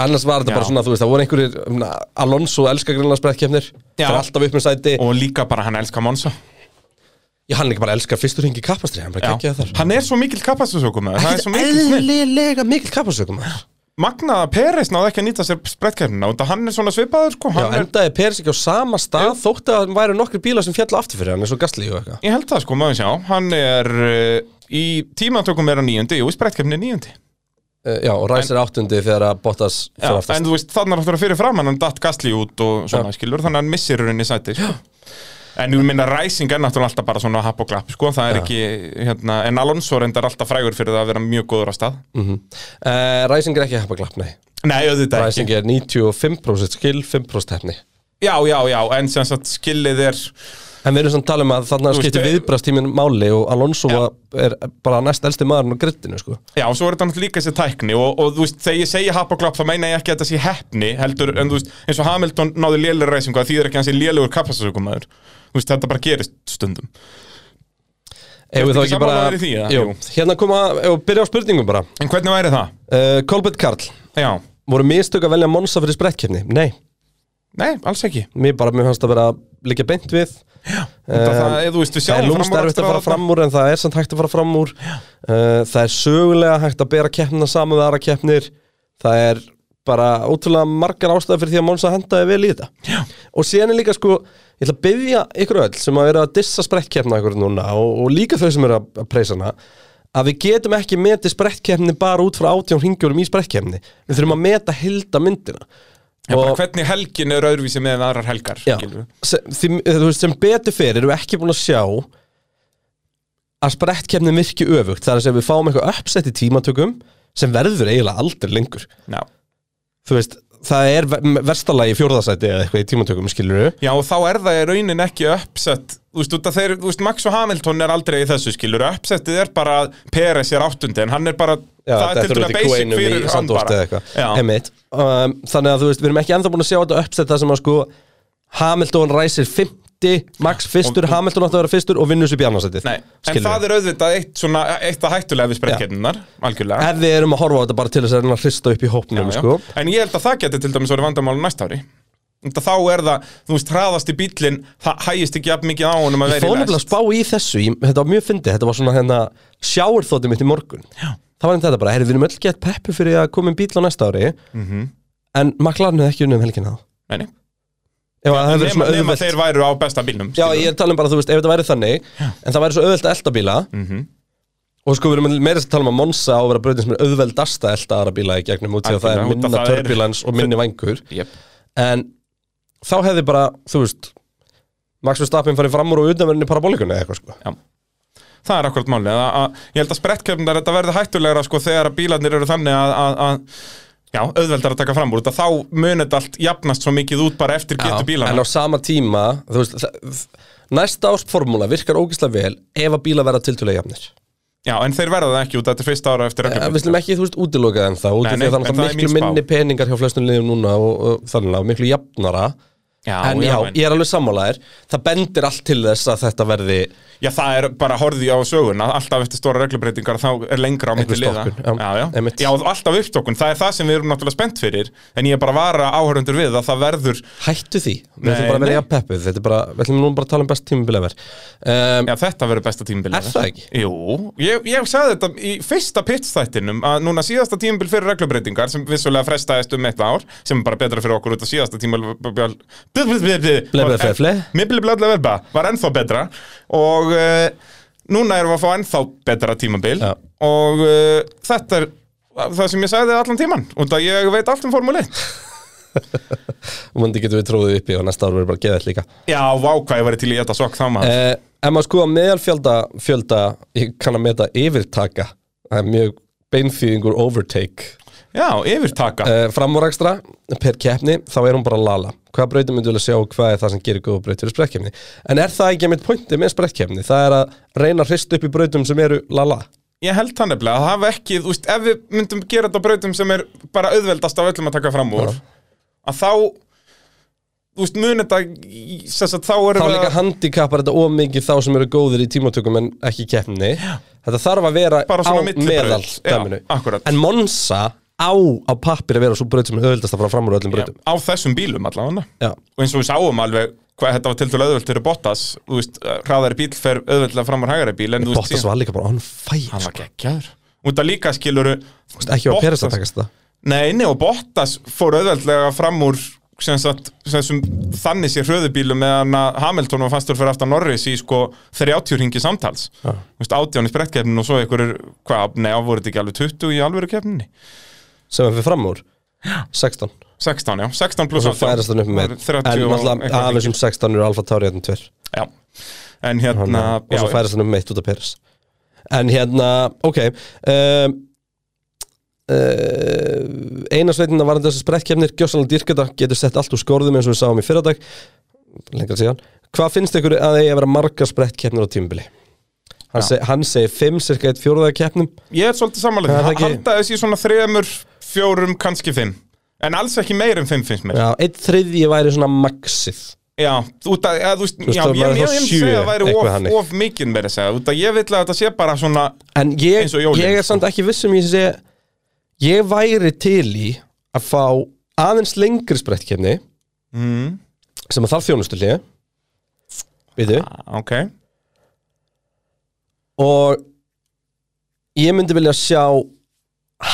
B: annars var þetta
C: Já.
B: bara svona, þú veist, það voru einhverjir ég meina, Alonso elskar grinnlega sprekkjefnir
C: Já.
B: fyrir alltaf upp með sæti
C: og líka bara hann elskar Monsa
B: já, hann líka bara elskar fyrstur hengi kappastri hann
C: Já.
B: bara gekkja þar
C: hann er svo mikill kapastusökum það er svo mikill snill
B: eðlilega mikil kappastökum já,
C: Magna Peres náði ekki að nýta sér sprettkæmina og hann er svona svipaður sko hann er,
B: endaði Peris ekki á sama stað þótt að hann væri nokkri bílar sem fjallu aftur fyrir hann eins og Gastli og eitthvað
C: ég held það sko, maður sjá hann er uh, í tímantökum er hann níundi, jú, sprettkæmina er níundi
B: Eh, já, og ræsir áttundi þegar að Bottas
C: Já,
B: fyrir aftast
C: en þú veist, þannig er aftur að fyrir fram hann datt gasli út og svona, skilur þannig að hann missir rauninni sæti sko. en ég minna ræsing er náttúrulega alltaf bara svona happ og glapp, sko, það er ekki hérna, en Alonso reyndar alltaf frægur fyrir það að vera mjög góður á stað
B: Uh, Ræsing er ekki heppaklapp, nei
C: Nei, auðvitað
B: Ræsing
C: ekki
B: er 95% skill, 5% hefni
C: Já, já, já, en sem sagt skillið er
B: En við erum samt að tala um að
C: Þú
B: þarna
C: veist,
B: skiptir
C: eh,
B: viðbrastíminn máli og Alonso var, er bara næst elsti maðurinn á grittinu sko.
C: Já, og svo er þetta náttúrulega líka þessi tækni og, og þú veist, þegar ég segi happ og glapp þá meina ég ekki að þetta sé heppni heldur, en þú veist, eins og Hamilton náði lélir reysingu að þýðir ekki að hann sé lélugur kapastasökumæður Þú veist, þetta bara gerist stundum
B: Ef við þá
C: ekki
B: ekki bara
C: sammála þér í því, eða?
B: Jú,
C: Jú.
B: Hérna koma, ef við byrja á spurningum bara
C: En hvernig væri það?
B: uh, Kolbett Karl,
C: Já,
B: voru mistök að velja Monsa fyrir sprettkefni? Nei,
C: nei, alls ekki
B: mér bara, mér fannst að vera líka beint við Eh, Já,
C: Þetta það, eða þú veist, við
B: Það er
C: sjáum
B: lúmst erfitt að fara fram úr en það er samt hægt að fara fram úr uh, Það er sögulega hægt að bera keppnina saman við aðra keppnir Það er bara ótrúlega margar ástæður fyrir því að Monsa hendaði vel í þetta Já. Og síðan er líka sko, ég ætla að byggja ykkur öll sem að vera að dissa sprettkeppna ykkur núna og, og líka þau sem eru að, að preysa hana að við getum ekki metið sprettkeppni bara út frá átján ringjörum í sprettkeppni Við þurfum að meta hilda myndina
C: Já, bara hvernig helgin er öðruvísi með en aðrar helgar
B: Já,
C: skilurðu?
B: sem, því, þú veist, sem betur fyrir erum við ekki búin að sjá að sprettkeppnin virki öfugt þar að segja við fáum eitthvað uppsett í tímatökum sem verður eiginlega aldrei lengur
C: Já.
B: þú veist, það er verstalagi fjórðasæti eða eitthvað í tímatökum skilur við
C: Já, og þá er það í raunin ekki uppsett Þú veist, út af þeir, þú veist, Max og Hamilton er aldrei í þessu skilur Uppsettið er bara að Peres er áttundi En hann er bara, það er tildulega basic fyrir hann bara Já.
B: Einmitt, um, þannig að þú veist, við erum ekki ennþá búin að sjá þetta uppsett það sem að sko Hamilton ræsir 50, Max
C: Og-
B: fyrstur,
C: og-
B: Hamilton átti að vera fyrstur og vinnur sér bjarnasætið
C: Nei, en það er auðvitað eitt, svona, eitt að hættulega við sprekkjarnar, algjörlega.
B: ef við erum að horfa á þetta bara til þess að reyna að hrista upp í hópnum
C: já.
B: sko.
C: En ég held að það geti til dæmis orðið vandamál næsta ári. Þetta þá er það, þú veist, hraðast í bílinn, það hægist ekki jafn mikið á honum að
B: Ég
C: vera
B: fór
C: í
B: nefnilega að
C: læst.
B: spá í þessu, ég, þetta var mjög fyndið, þetta var svona hérna sjáurþótið mitt í morgun. Já. Það var einnig þetta bara, heyrðu, við erum öll gett peppu fyrir að koma um bíl á næsta ári,
C: Mhm.
B: en McLaren hefði ekki unnið um helgina þá.
C: Nei, nei.
B: Ef að það hefði verið
C: Nema,
B: svona
C: nema
B: auðvelt.
C: þeir væru á besta bílnum.
B: Já,
C: skilurðu.
B: ég er talað um bara, þú veist, ef þetta væri þannig, en það væri svo auðvelt að elda bíla,
C: Mhm.
B: og sko við erum meira að tala um að Monsa á að vera bröðin sem er auðveldast að elda aðra bíla í gegnum út því að það er
C: Algjörlega, út af
B: minna
C: það er-
B: turbulence og minni vængur.
C: sko. Jep.
B: En þá hefði bara, þú veist, Max Verstappen farið fram úr og utanverðinni parabolikunni eða eitthvað sko.
C: Það er akkurat málið. að- að- Ég held að sprettkjöfundar þetta verði hættulegra sko þegar að bílarnir eru þannig að, að, að já, auðveldar að taka fram úr. Þetta þá munið þetta allt jafnast svo mikið út bara eftir getur
B: En
C: bílarna.
B: á sama tíma þú veist, það- Næsta árs formúla virkar ógislega vel ef að bíla verða tiltölulega jafnir
C: Já, en þeir verða það ekki út þetta er fyrsta ára eftir
B: Eh,
C: reglum.
B: Við slum ekki, þú veist, útilokað en það út
C: Nei,
B: af því að
C: nei,
B: það
C: en
B: er
C: það er
B: miklu
C: mín spá.
B: minni peningar hjá flestum liðum núna og, og þannig að miklu jafnara En já,
C: en-
B: ég er alveg sammálaðir Það bendir allt til þess að þetta verði
C: Já, það er bara horfið á söguna, alltaf eftir stóra reglubreitingar þá er lengra á mitt
B: Einhver
C: liða.
B: stokkun, já,
C: já, já.
B: einmitt.
C: já, og alltaf uppstokkun, það er það sem við erum náttúrulega spennt fyrir, en ég er bara að vara áhörundur við að það verður,
B: Hættu því, við
C: Nei,
B: ætlum bara að vera
C: nei.
B: jafn peppuð Þetta er bara, við ætlum nú bara að tala um best tímubil efer um,
C: já þetta verður besta tímbil.
B: Er það ekki?
C: Jú, ég, ég sagði þetta í fyrsta pitstættinum að núna síðasta tímbil fyrir reglubreitingar sem vissulega frestaðist um eitt ár, sem er bara betra fyrir okkur út af síðasta tímbil
B: Blebbleflefle.
C: Blebbleflefle var ennþá betra og uh, núna erum við að fá ennþá betra tímabil
B: Já.
C: og uh, þetta er það sem ég sagði allan tíman og það ég veit allt um formúli
B: Og mundi getum við tróðið uppi og næsta ár verður bara geðið líka
C: Já, vá hvað ég væri til í þetta sokk þá maður
B: Eh, ef maður skoða meðalfjölda fjölda, ég kann að meta yfirtaka það er mjög beinþýðingur overtake
C: Já, yfirtaka
B: eh, framúrækstra per keppni þá er hún bara lala hvað brautum myndi vilja sjá og hvað er það sem gerir góða braut fyrir sprekkefni en er það ekki mitt pointi með sprekkefni það er að reyna að hrista upp í brautum sem eru lala
C: Ég held það nefnilega að það hafa ekki, þú veist, ef við myndum gera þetta á brautum sem er bara auðveldast af öllum að taka fram úr að þá, þú þú veist, mun þetta í- sem sagt, þá erum
B: þá
C: við
B: líka
C: að-
B: handikappar þetta of mikið þá sem eru góðir í tímatökum en ekki í keppni þetta þarf að vera
C: Bara
B: á
C: svona millibraut.
B: meðal dæminu.
C: Já, akkúrat.
B: en Monsa á á pappir að vera svo braut sem er auðvildast að fara fram úr öllum
C: Já,
B: brautum
C: á þessum bílum allavega
B: Já.
C: og eins og við sáum alveg hvað þetta var til dælu auðvöld fyrir Bottas þú veist, hraðari bíl fer auðvöldlega fram úr hægari bíl en þú
B: Bottas
C: síðan-
B: var líka bara on fire
C: hann
B: sko.
C: var geggjaður út að líka skiluru
B: ekki á Peres að takast það
C: Nei, nei, og Bottas fór auðveldlega fram úr sem sagt, sem sem þannig sér hröðubílu meðan að Hamilton var fastur fyrir aftan Norris í sko 30 ringi samtals Þú veist, átján í sprettkeppninu og svo ykkur er, hvað, nei, á voru þetta ekki alveg 20 í alvöru keppninni
B: sem hann fyrir fram úr 16
C: 16, já, 16
B: og
C: pluss
B: svo færast hann upp með
C: 30
B: en
C: og
B: náttúrulega
C: eitthvað
B: af
C: ringi.
B: þessum 16 eru Alfa Tauri hérna tver
C: Já, en hérna
B: og svo
C: já,
B: færast hann upp með 1 út af Peres en hérna, ok um, uh, eina sveitina varandi þessi sprettkefnir gjössanlega dýrkata getur sett allt úr skorðum eins og við sáum í fyrradag lengra síðan hvað finnst ykkur að það eigi að vera margar sprettkefnir á tímbili? Hann,
C: Já.
B: seg, hann segir 5, cirka 1 fjóruða keppnum
C: Ég er svolítið
B: Já,
C: samanlega
B: það
C: því,
B: ekki-
C: halda þessi svona þremur, fjórum, kannski fimm En alls ekki meir en fimm finnst mér
B: Já, einn þriðji væri svona maxið
C: Já, út að, eða, þú veist,
B: veist,
C: já, ég
B: það var þá
C: mér hefði
B: sjö,
C: segja að það væri
B: eitthvað
C: of,
B: þannig.
C: of mikinn verið að segja, út að ég vill að þetta sé bara svona,
B: En ég,
C: Eins og jólin,
B: ég er
C: sko.
B: samt ekki viss um ég sé Ég væri til í að fá aðeins lengri sprettkefni mm. sem að þarf þjónustulíu við þau
C: ok,
B: og ég myndi vilja sjá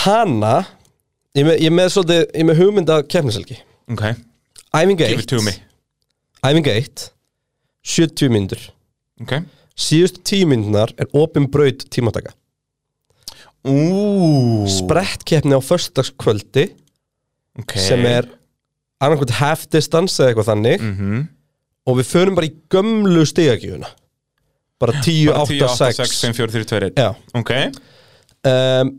B: hana ég er með, ég er með, svolítið, ég er með hugmynda kefniselgi
C: ok,
B: Æfinga
C: give it to
B: 1
C: me,
B: Æfinga 1 70 myndur
C: ok.
B: Síðustu 10 myndunar er opin braut tímataka
C: Ú,
B: Sprettkefni á föstudagskvöldi
C: ok.
B: sem er annarkvæmt half distance eða eitthvað þannig
C: Mhm.
B: og við förum bara í gömlu stigagjöfuna bara 10,
C: Bara 10, 8, 6,
B: 8, 6
C: 5, 4, 3, 2, 1.
B: Já.
C: Ok,
B: um,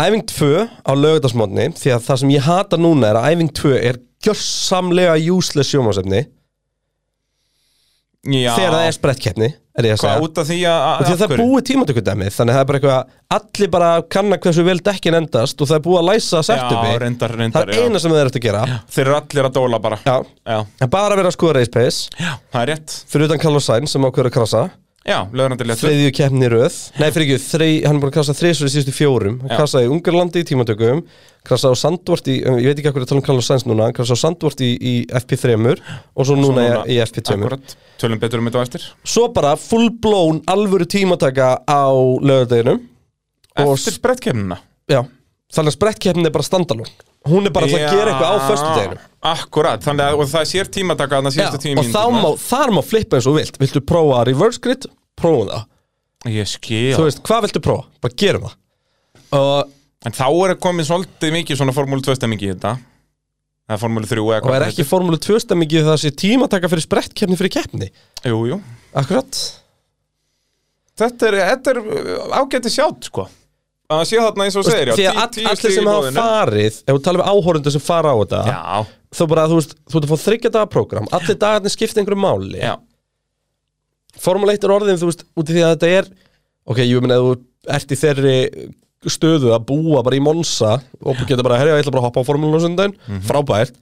B: æfing 2 á lögðarsmótni því að það sem ég hata núna er að æfing 2 er gjörsamlega useless sjómasefni
C: já.
B: þegar það er sprettkeppni er ég að segja
C: Hvað, út af því að,
B: Og því að það er búið tímatökudæmið þannig að það er bara eitthvað allir bara kanna hversu vel dekkin endast og það er búið að læsa
C: Já,
B: setupi
C: reyndar,
B: það
C: reyndar,
B: er eina sem það er eftir að gera já.
C: Þeir eru allir að dóla bara. Já,
B: en bara að vera að skoða race pace
C: já, það er rétt.
B: fyrir utan Carlos Sainz sem ákveður að krasa
C: Já, lögrandi léttur.
B: þriðju keppni í röð Nei, fyrir ekki, þri, hann er búin að krasa þriðsverði síðustu fjórum Hann
C: Já.
B: krasaði í Ungarlandi í tímatökum Krasaði á Sandvort í, um, ég veit ekki hvað er að tala um Carlos Sainz núna hann Krasaði á Sandvort í, í FP3 Og svo núna í, í FP2
C: Akkurat, tölum betur um þetta á eftir.
B: Svo bara full blown alvöru tímataka á lögadeginum Og
C: Eftir sprettkemna.
B: Já, þannig að sprettkeppnin er bara standalón Hún er bara að, að gera eitthvað á föstudeginum
C: Akkurat, þannig að og það sér tímataka þannig að
B: Já,
C: síðustu tími
B: og þá má, þar má flippa eins og þú vilt Viltu prófa reverse grid, prófa það
C: Ég skil
B: Þú veist, hvað viltu prófa? Bara gerum það Og
C: En þá er komið svolítið mikið svona Formúlu 2 stemmingi í þetta Það er Formúlu 3 eða
B: Og er
C: það
B: ekki formúlu 2 stemmingi það sé tímataka fyrir sprettkeppni fyrir keppni
C: heitir. Jú, jú
B: Akkurat
C: Þetta er, þetta er ágæti sjátt, sko Að það sé þarna eins og þú segir, já
B: Því að all, allir sem hafa farið Ef þú talar við áhórundu sem fara á þetta
C: Já,
B: Þá bara, þú veist, þú ert að fá þryggja daga program Allir dagarnir skipta einhverju máli
C: já,
B: Formúla 1 er orðin, þú veist, út í því að þetta er Ok, ég meina, ef þú ert í þeirri stöðu að búa bara í Monsa Og geta bara, herja, ég ætla bara að hoppa á formúlunum sundaginn Frábært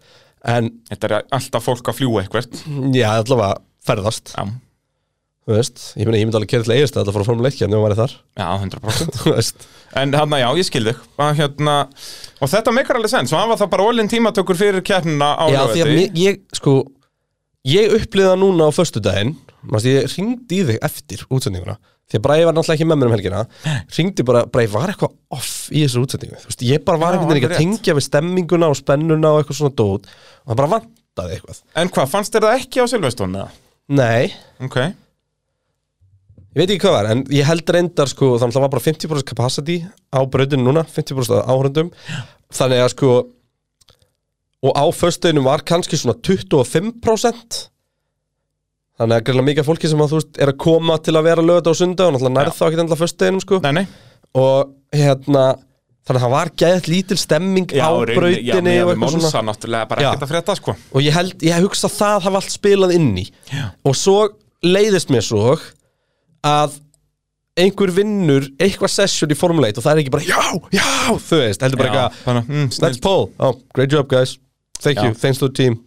B: En,
C: þetta er alltaf fólk að fljúa eitthvert Já,
B: já, allavega ferðast
C: já,
B: Þú veist, ég meina, ég myndi alveg kera til eigist að fara á hérna formúla 1 kemni og væri þar
C: 100%
B: Þú veist
C: En hérna, já, ég skil þig Að, hérna, Og þetta meikar alveg sens, og hann var það bara ólinn tímatökur fyrir kjærnina á
B: Já, því að
C: laugardegi.
B: mér, ég, sko Ég upplýða núna á föstudaginn Manstu, ég ringdi í þig eftir útsendinguna Því að Bræði var náttúrulega ekki með mér um helgina Ringdi bara, Bræði var eitthvað off í þessu útsendingu Þú veist, ég bara var
C: Já,
B: einhvern veginn
C: alveg
B: ekki að tengja við stemminguna og spennuna og eitthvað svona dót Og það bara vantaði eitthvað
C: En hvað, fannst þér það ekki á Silvestónu?
B: Nei,
C: Ok,
B: ég veit ekki hvað var En ég held reyndar, sko, þannig að var bara 50% capacity á brautinu núna 50% áhörundum Þannig að, sko Og á föstudeginum var kannski svona 25% Þannig að greinlega mikið af fólki sem að þú veist er að koma til að vera lögða á sunda og náttúrulega nærð þá ekkert endla föstudeginum sko
C: nei, nei
B: og hérna þannig að það var gæðt lítil stemming á
C: í rauninni, já, með
B: brautinni og
C: að við
B: eitthvað
C: Monza
B: svona
C: náttúrulega bara
B: Já.
C: ekkert að frétta, sko
B: og ég held, ég hugsa að það hafa allt spilað inn í
C: Já.
B: og svo leiðist mér svo að einhver vinnur eitthvað session í Formule 1 og það er ekki bara já, já, þú veist, heldur bara
C: Já,
B: eitthvað
C: bara, mm,
B: That's
C: snill
B: Paul, oh, great job guys Thank
C: Já.
B: you, thanks to the team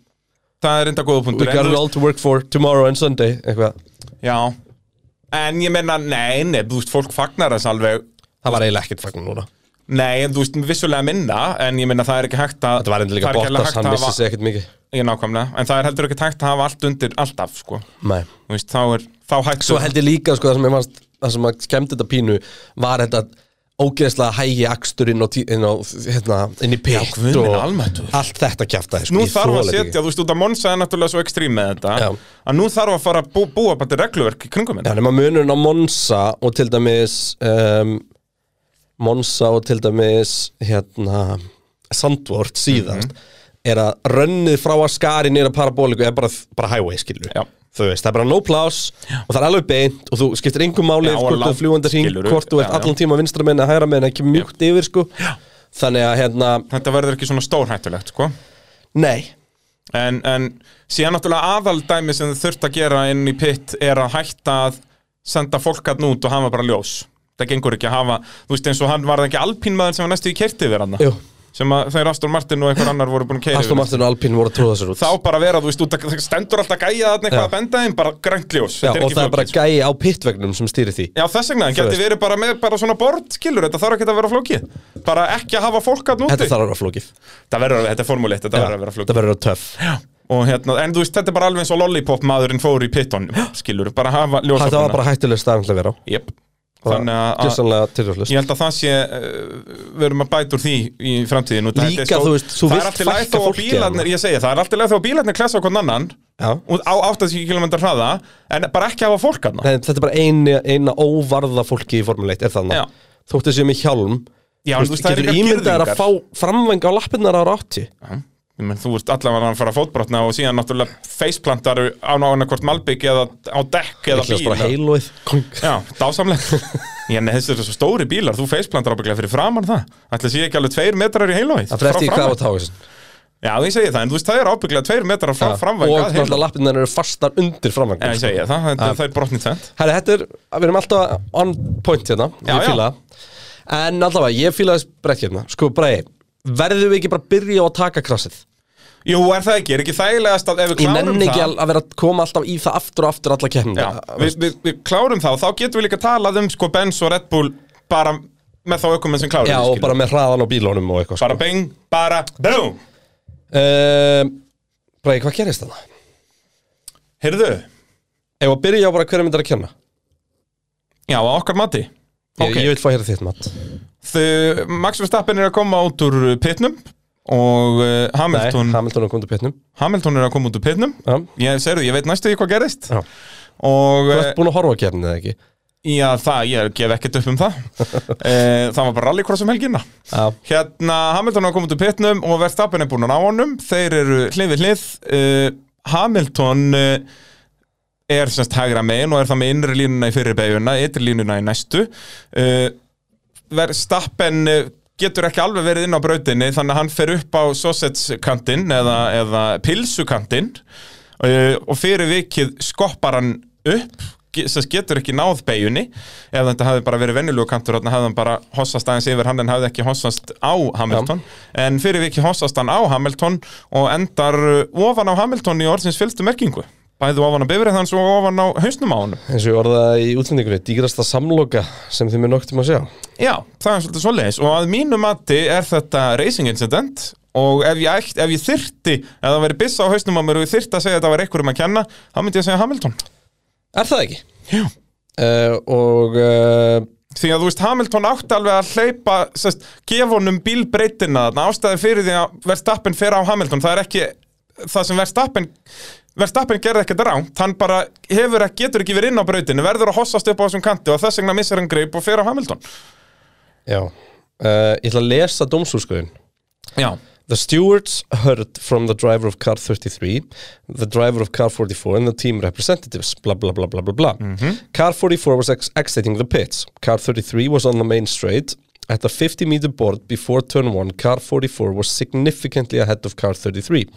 C: það er enda góða
B: We
C: punktur
B: got
C: en,
B: it
C: þú
B: all to work for tomorrow and Sunday eitthvað.
C: veist- Já En ég menna, nei, nei, þú veist, fólk fagnar þess alveg
B: Það var eiginlega ekkert fagnar núna
C: Nei, en þú veist, vissulega minna En ég menna, það er ekki hægt að
B: Þetta var endur líka
C: það er ekki
B: Bottas,
C: hægt
B: hann
C: að
B: vissi
C: hafa-
B: sig ekkert mikið
C: Ég nákvæmlega, en það er heldur ekki hægt að hafa allt undir alltaf, sko
B: Nei.
C: Þú veist, þá er, þá hægt
B: Svo held ég líka sko, það sem ég varst það sem að skemmt þetta pínu var þetta ógeðslega hægi akstur inn á, tí- inn, á hérna, inn í pitt
C: guð minn almáttugur.
B: og allt þetta kjaftaði sko,
C: Nú
B: ég
C: þarf að
B: þoli þetta
C: setja,
B: ekki.
C: þú veist, út að Monsa er náttúrulega svo ekstrím með þetta
B: Já.
C: Að nú þarf að fara að bú, búa bara til regluverk í kringum
B: Já,
C: þetta
B: nema munurinn á Monsa og til dæmis um, Monsa og til dæmis hérna Sandvort síðast
C: Mhm.
B: er að rönnið frá að skari nýra parabóliku er bara, bara highway skilur
C: Já.
B: þú veist, það er bara no pláss og það er alveg beint og þú skiptir engum máli
C: Já, og
B: hvort þú er
C: langt,
B: fljúandi hring,
C: skilurðu.
B: hvort þú ert
C: Já, já.
B: allan tíma vinstra menn að hægra menn ekki mjúkt yfir sko já. þannig að hérna,
C: Þetta verður ekki svona stórhættulegt, sko
B: nei
C: En, en síðan náttúrulega aðaldæmi sem þau þurft að gera inn í pitt er að hætta að senda fólk hann út og hafa bara ljós. Það gengur ekki að hafa, þú veist eins og hann var það ekki alpínmaður sem var næstu í kerti yfir hann.
B: Jú.
C: Sem að þeir Aston Martin og einhver annar voru búin að keira
B: Aston Martin og Alpine voru að tróða sér út
C: Þá bara vera, þú veist, út að það stendur alltaf gæja þarna eitthvað
B: Já.
C: að benda þeim, bara grænt ljós.
B: já,
C: Þetta
B: og
C: ekki
B: það er bara
C: flókið, sko.
B: gæi á pittvegnum sem stýri því
C: Já, þess vegna, hann geti
B: veist.
C: verið bara með bara svona bord, skilur, þetta þarf ekki að vera flókið. Bara ekki að hafa fólk hann úti.
B: þetta þarf að vera flókið
C: Það verður, að- þetta er formúleitt, þetta verður að vera flókið.
B: það verður að töff
C: og hérna, en þú veist, þetta er bara alveg eins og lollipop maðurinn fór í pitton, skilur, bara hafa ljósopnuna.
B: Það var bara hættuleg staðan að vera á
C: Jep. Þannig að, að
B: Gjössanlega tilhjóðlust
C: ég held að það sé uh, við erum að bæta úr því í framtíðin út að þetta
B: Líka,
C: er stór-
B: þú veist, þú
C: það
B: vilt
C: er alltaf læð
B: fækka
C: þó að
B: fólki hérna.
C: bílarnir,
B: þarna.
C: ég segi það, það er alltaf læð þó að bílarnir klessa okkur annan
B: Já.
C: út á 80 km hraða en bara ekki hafa fólk hérna. hann
B: Nei, þetta er bara eina, eina óvarða fólki í Formule 1 er
C: Já.
B: þannig Þóttu þessi með hjálm
C: Já, en þú veist, það eru
B: Getur
C: engar
B: ímyndað þér að
C: girðingar.
B: fá framveng á lappirnar ára 80
C: menn, þú veist, allavega hann fara að fótbrotna og síðan náttúrulega faceplantar á náðanakvort malbygg eða á dekk eða
B: Líklegast bara
C: bíl
B: heilóið Kong.
C: Já, dásamlega Já, nei, þessi eru svo stóri bílar, þú faceplantar ábygglega fyrir framann það Ætli sé ekki alveg tveir metrar í heilóið
B: Það fyrir eftir í hvað á táis
C: Já, ég segi það, en þú veist, það er ábygglega tveir metrar frá
B: Og
C: framvæg að
B: náttúrulega
C: heilóið
B: lappirnar eru fastar undir framveng
C: Já, ég segi það, það, það er brotnið tvent
B: Herri, þetta er, við erum alltaf on point hérna,
C: Já,
B: ég
C: já.
B: fíla það. En allavega, ég fíla þess brekk hérna Sko, bregi, verðum við ekki bara að byrja á að taka krassið?
C: Jú, er það ekki, er ekki þægilegast að ef við
B: Ég
C: klárum
B: nenni ekki
C: það
B: al- að vera að koma alltaf í það aftur og aftur alla
C: Já,
B: kemna
C: við, við, við klárum það og þá getum við líka talað um sko Benz og Red Bull bara með þá ökumenn sem klárum
B: Já,
C: við,
B: og
C: skilur.
B: bara með hraðan á bílónum og eitthvað
C: bara bing, bara boom
B: um, Bræði, hvað gerist þarna?
C: Heyrðu,
B: Ef að byrja á bara hverju myndir að kenna
C: já, á okkar mati
B: ég,
C: Ok.
B: ég vil fá hér þitt mat
C: Þau, Max Verstappen er að koma út úr pitnum og uh, Hamilton,
B: Nei, Hamilton og Kundu Pittnum
C: Hamilton er að koma út úr pitnum
B: Já.
C: ég, serðu, ég veit næstu því hvað gerðist
B: Já.
C: og
B: Þú
C: uh,
B: ert búin að horfa að kemna eða ekki?
C: já, það, ég gef ekkert upp um það uh, það var bara rallycross um helgina
B: Já
C: hérna, Hamilton er að koma út úr pitnum og Verstappen er búin að ná honum þeir eru hlið við hlið uh, Hamilton uh, er semst hægra megin og er það með innri línuna í fyrir beiguna, ytri línuna í næstu uh, Verstappen eh, getur ekki alveg verið inn á brautinni þannig að hann fer upp á sausage-kantinn eða, eða pilsukantinn uh, og fyrir vikið skoppar hann upp sem getur ekki náð beigjunni ef þetta hefði bara verið venjulegu kantur þannig hefði hann bara hossast aðeins yfir hann en hefði ekki hossast á Hamilton en fyrir vikið hossast hann á Hamilton og endar eh, ofan á Hamilton í orðsins fylgstu merkingu bæði ofan á bifrið hans og ofan á hausnum á honum
B: Eins og ég orðaði í útlendingunni Dýrasta samloka sem þið mér noktum að sjá
C: Já, það er svolítið svoleiðis og að mínu mati er þetta racing incident og ef ég, ætt, ef ég þyrti ef það væri byssa á hausnum á mér og ég þyrti að segja að það væri einhverjum að kenna þá myndi ég að segja Hamilton
B: Er það ekki?
C: Já.
B: Uh, og uh,
C: því að þú veist Hamilton átti alveg að hleypa sest, gefa honum bílbreytina þarna ástæði fyrir því að Verstappen fer á Hamilton það er ekki það sem Verstappen Verstappen gerði ekkert rámt hann bara hefur, ekki- getur ekki verið inn á brautinu verður að hossast upp á þessum kanti og þess vegna missir hann greip og fer á Hamilton
B: já uh, Ég ætla að lesa dómsúrskuðin
C: Já,
B: The stewards heard from the driver of car 33, the driver of car 44 and the team representatives, blah, blah, blah, blah, blah, blah. Car 44 was ex- exiting the pits. Car 33 was on the main straight. At the 50 meter board before turn 1, car 44 was significantly ahead of car 33.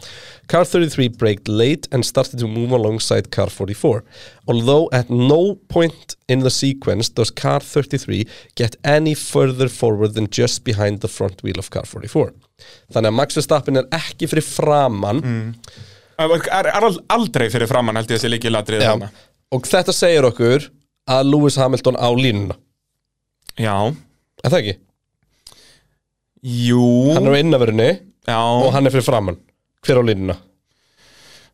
B: Car 33 braked late and started to move alongside car 44. Although at no point in the sequence does car 33 get any further forward than just behind the front wheel of car 44. Þannig að Max Verstappen er ekki fyrir framann
C: er, er al- aldrei fyrir framann held ég þessi líki latrið
B: Já. Og þetta segir okkur að Lewis Hamilton á línuna
C: já,
B: Er það ekki?
C: jú
B: Hann er á innaverinni
C: já,
B: og hann er fyrir framann Hver á línuna?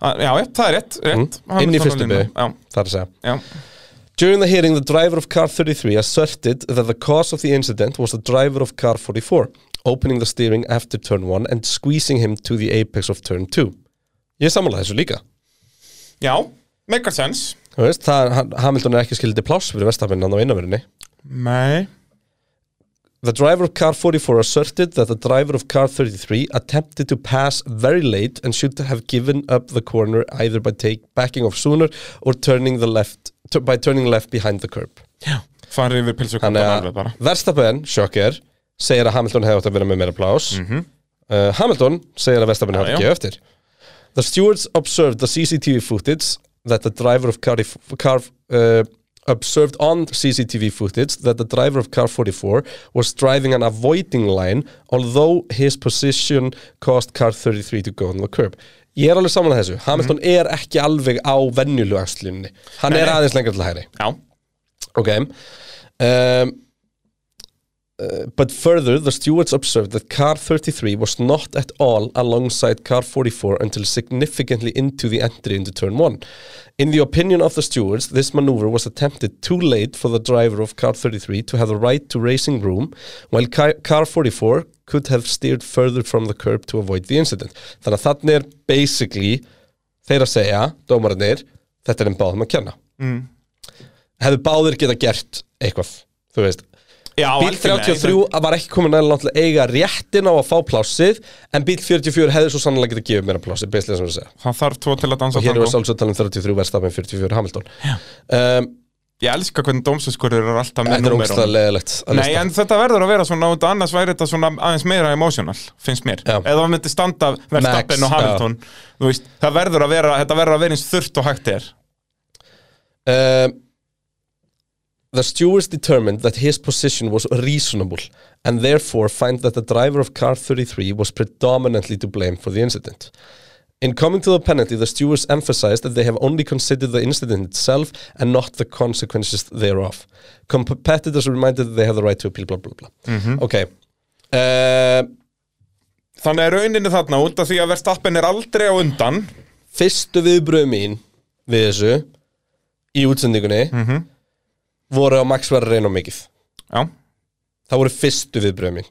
C: já, já, það er rétt, rétt.
B: Mm. Inn
C: Hamilton
B: í
C: á
B: fyrstu
C: línu.
B: beygju. Það er að segja
C: Já, já,
B: During the hearing, the driver of car 33 asserted that the cause of the incident was the driver of car 44 opening the steering after turn 1 and squeezing him to the apex of turn 2. Ég samanlega þessu líka.
C: já, make a sense
B: Þú veist, það, hann- Hamilton er ekki skildið pláss fyrir vestafinn hann á innaverinni.
C: nei
B: The driver of car 44 asserted that the driver of car 33 attempted to pass very late and should have given up the corner either by take, backing off sooner or turning the left, tu- by turning left behind the curb.
C: já, farið yfir pilsukantan alveg
B: Þannig
C: bara
B: að Verstappen, sjokker, segir að Hamilton hefði átt að vera með meira plás uh, Hamilton segir að Verstappen hefði
C: Mhm. já.
B: ekki eftir The stewards observed the CCTV footage that the driver of car, car uh, observed on CCTV footage that the driver of car 44 was driving an avoiding line although his position caused car 33 to go on the curb Ég er alveg saman að þessu, Hamilton er ekki alveg á venjulu axlunni Hann
C: Mhm. Nei,
B: er
C: nei.
B: aðeins lengra til hægri
C: já,
B: Okay. Um, uh, Ehm, but further, the stewards observed that car 33 was not at all alongside car 44 until significantly into the entry into turn 1. In the opinion of the stewards, this maneuver was attempted too late for the driver of car 33 to have the right to racing room, while car, car 44 could have steered further from the curb to avoid the incident. Þannig að þannig er basically þeir að segja, dómararnir, þetta er einn báðum að kenna hefðu báðir geta gert eitthvað þú veist
C: já
B: Bíl 33 var ekki komin nægilega langt til að eiga réttin á að fá plássið en bíl 44 hefði svo sannlega getið gefið mér plássið beislega sem við segja.
C: það þarf tvo til að dansa
B: Og hér erum við
C: tango
B: sálsöld talað um 33 verðstafin 44 Hamilton. Um,
C: ég elska hvernig dómsinskurður er alltaf með
B: þetta er
C: númerum
B: ógstæðlega leðilegt að
C: Nei,
B: lista.
C: en þetta verður að vera svona út af annars væri þetta svona aðeins meira emotional, finnst mér
B: Já.
C: eða það myndi standa Verstappen
B: Max,
C: og Hamilton þú veist, það verður að vera þetta verður að vera eins þurft og hægt er
B: Um, the stewards determined that his position was reasonable and therefore find that the driver of car 33 was predominantly to blame for the incident. In coming to the penalty, the stewards emphasized that they have only considered the incident itself and not the consequences thereof. Competitors are reminded that they have the right to appeal, blah, blah, blah. Ok. Uh,
C: Þannig er rauninni þarna út af því að Verstappen er aldrei á undan
B: fyrstu viðbröð mín við þessu í útsendingunni voru að Max var að reyna of mikið.
C: Já,
B: Það voru fyrstu viðbröð mín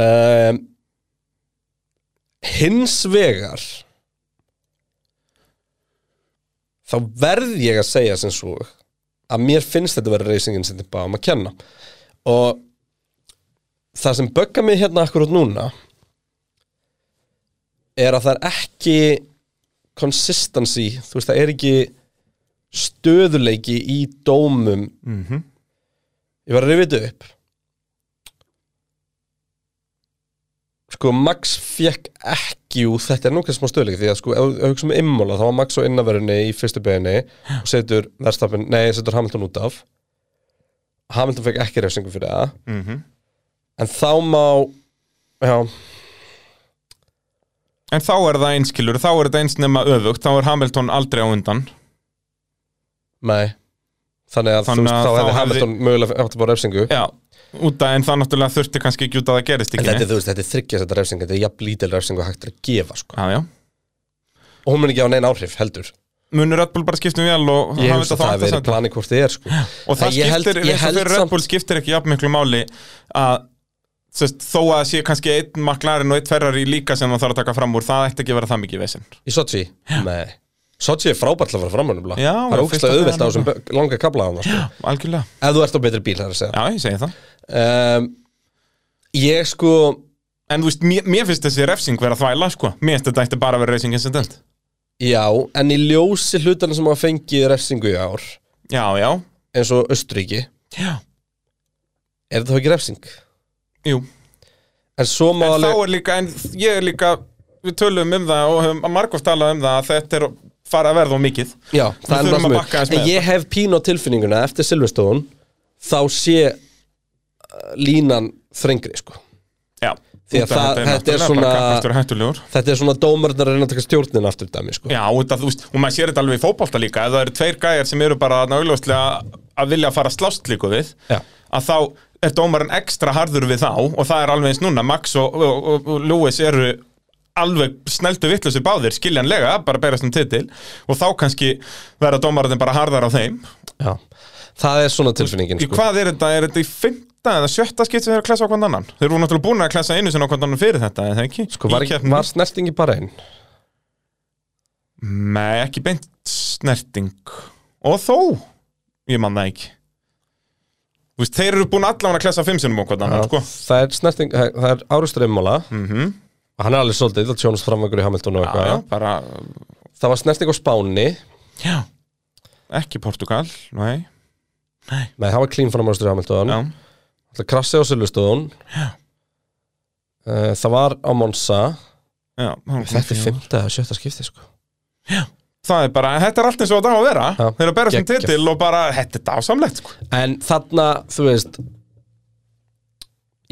B: um, Hins vegar Þá verð ég að segja sem svo að mér finnst þetta verið reysingin sem þetta báðum að kenna og það sem böggar mig hérna akkurát núna er að það er ekki consistency, þú veist það er ekki stöðuleiki í dómum Ég var að rifja þetta upp Sko, Max fekk ekki úr þetta er nú kannski smá stöðleik því að sko, ef ef við hugsa um immola, þá var Max á innaverinni í fyrstu beginni og setur verðstafin, nei, setur Hamilton út af Hamilton fekk ekki refsingu fyrir það en þá má já,
C: en þá er það einskilur þá er þetta eins nema öfugt, þá er Hamilton aldrei á undan
B: nei þannig að
C: Þannig að
B: þú veist, þá
C: þá
B: hefði
C: hefði-
B: Hamilton mögulega átt að bá refsingu
C: Já, út af en það náttúrulega þurfti kannski ekki út af að það gerist
B: en
C: ekki
B: þetta
C: neitt.
B: er, þú veist, þetta er þryggja þetta refsingu þetta er jafn lítil refsingu hægt er að gefa sko.
C: Já, já
B: og hún mun ekki á neina áhrif, heldur
C: Munur Red Bull bara skiptum vel og
B: ég
C: Hamilton
B: hugsa
C: þá
B: að það
C: átta
B: hafi verið
C: sæti.
B: planið hvort þið er sko.
C: og það
B: Nei, ég held-
C: skiptir,
B: ég
C: eins og
B: held
C: fyrir Red
B: samt-
C: Bull skiptir ekki jafn miklu máli að sest, þó að það sé kannski einn maklarinn og einn ferrari líka sem það þarf að taka fram úr, það ætti ekki að vera það mikið vesen
B: Í Sochi? Nei Sochi er frábært til að fara fram hann
C: Já,
B: Það er
C: já, fyrsta
B: ógæslega auðvelt á
C: dagana.
B: þessum bö- langa kabla á hann sko.
C: algjörlega,
B: Ef þú ert á betri bíl, það er að segja
C: já ég segi það
B: um, Ég sko
C: en þú veist, mér, mér finnst þessi refsing vera þvæla sko, mér finnst þetta ætti bara að vera racing incident
B: Já, en í ljósi hlutana sem hafa fengið refsingu í ár
C: já, já,
B: eins og Östuríki
C: já,
B: Er þetta þá ekki refsing?
C: jú
B: En svo má
C: en
B: alveg
C: þá er líka, en ég er líka við tölum um það og höfum margóft talað um það að þetta er að fara að verða á mikið
B: Já, það er
C: þurfum að
B: náttúrulega
C: bakka aðeins
B: mjög En
C: með
B: ég hef pínu á tilfinninguna eftir Silvestóðun þá sé uh, línan þrengri sko
C: já,
B: því að það, þetta er
C: náttúrulega
B: svona
C: bara kappakstur hættulegur
B: þetta er svona dómarnar að reyna að taka stjórnin aftur dæmi, sko.
C: Já, þetta, þú veist, og maður sér þetta alveg í fótbolta líka ef það eru tveir gæjar sem eru bara nágljóðslega að vilja að fara að slást líku við
B: Já.
C: að þá er dómarinn ekstra harður við þá og það er alveg eins núna Max og, og, og, og Lewis eru alveg sneldu vittlusi báðir skiljanlega, bara berast um titil og þá kannski verða dómarinn bara harðar á þeim
B: Já. það er svona tilfinningin
C: Í
B: sko.
C: hvað er þetta? Er þetta í fymta eða sjötta skipt sem þeir eru að klessa okkur annan? Þeir eru náttúrulega búin að klessa einu sinni okkur annan fyrir þetta, eða ekki?
B: Sko, var,
C: Í keppninni?
B: var snertingi bara einn
C: Nei, ekki beint snerting Og þó Ég man það ekki Þú veist, þeir eru búin allan að klessa fimm sinum okkur annan, sko
B: það er snerting, það það er árustur einmála
C: mm
B: hann er alveg svolítið, það tjónast framvægur í Hamilton og
C: Já,
B: eitthvað
C: já, bara
B: það var snerting á Spáni
C: Já Ekki Portugal, nei
B: nei, það var clean framvægur í Hamilton
C: Já,
B: það krassi á Silvestóðun það var á Monsa
C: já hann kom
B: þetta er
C: fyrir.
B: fymta eða sjötta skipti sko.
C: Það er bara, þetta er allt eins og það á að vera
B: Já.
C: Þeir eru að berast um
B: Geggjað.
C: titil og bara, þetta er dásamlegt, sko
B: en þarna, þú veist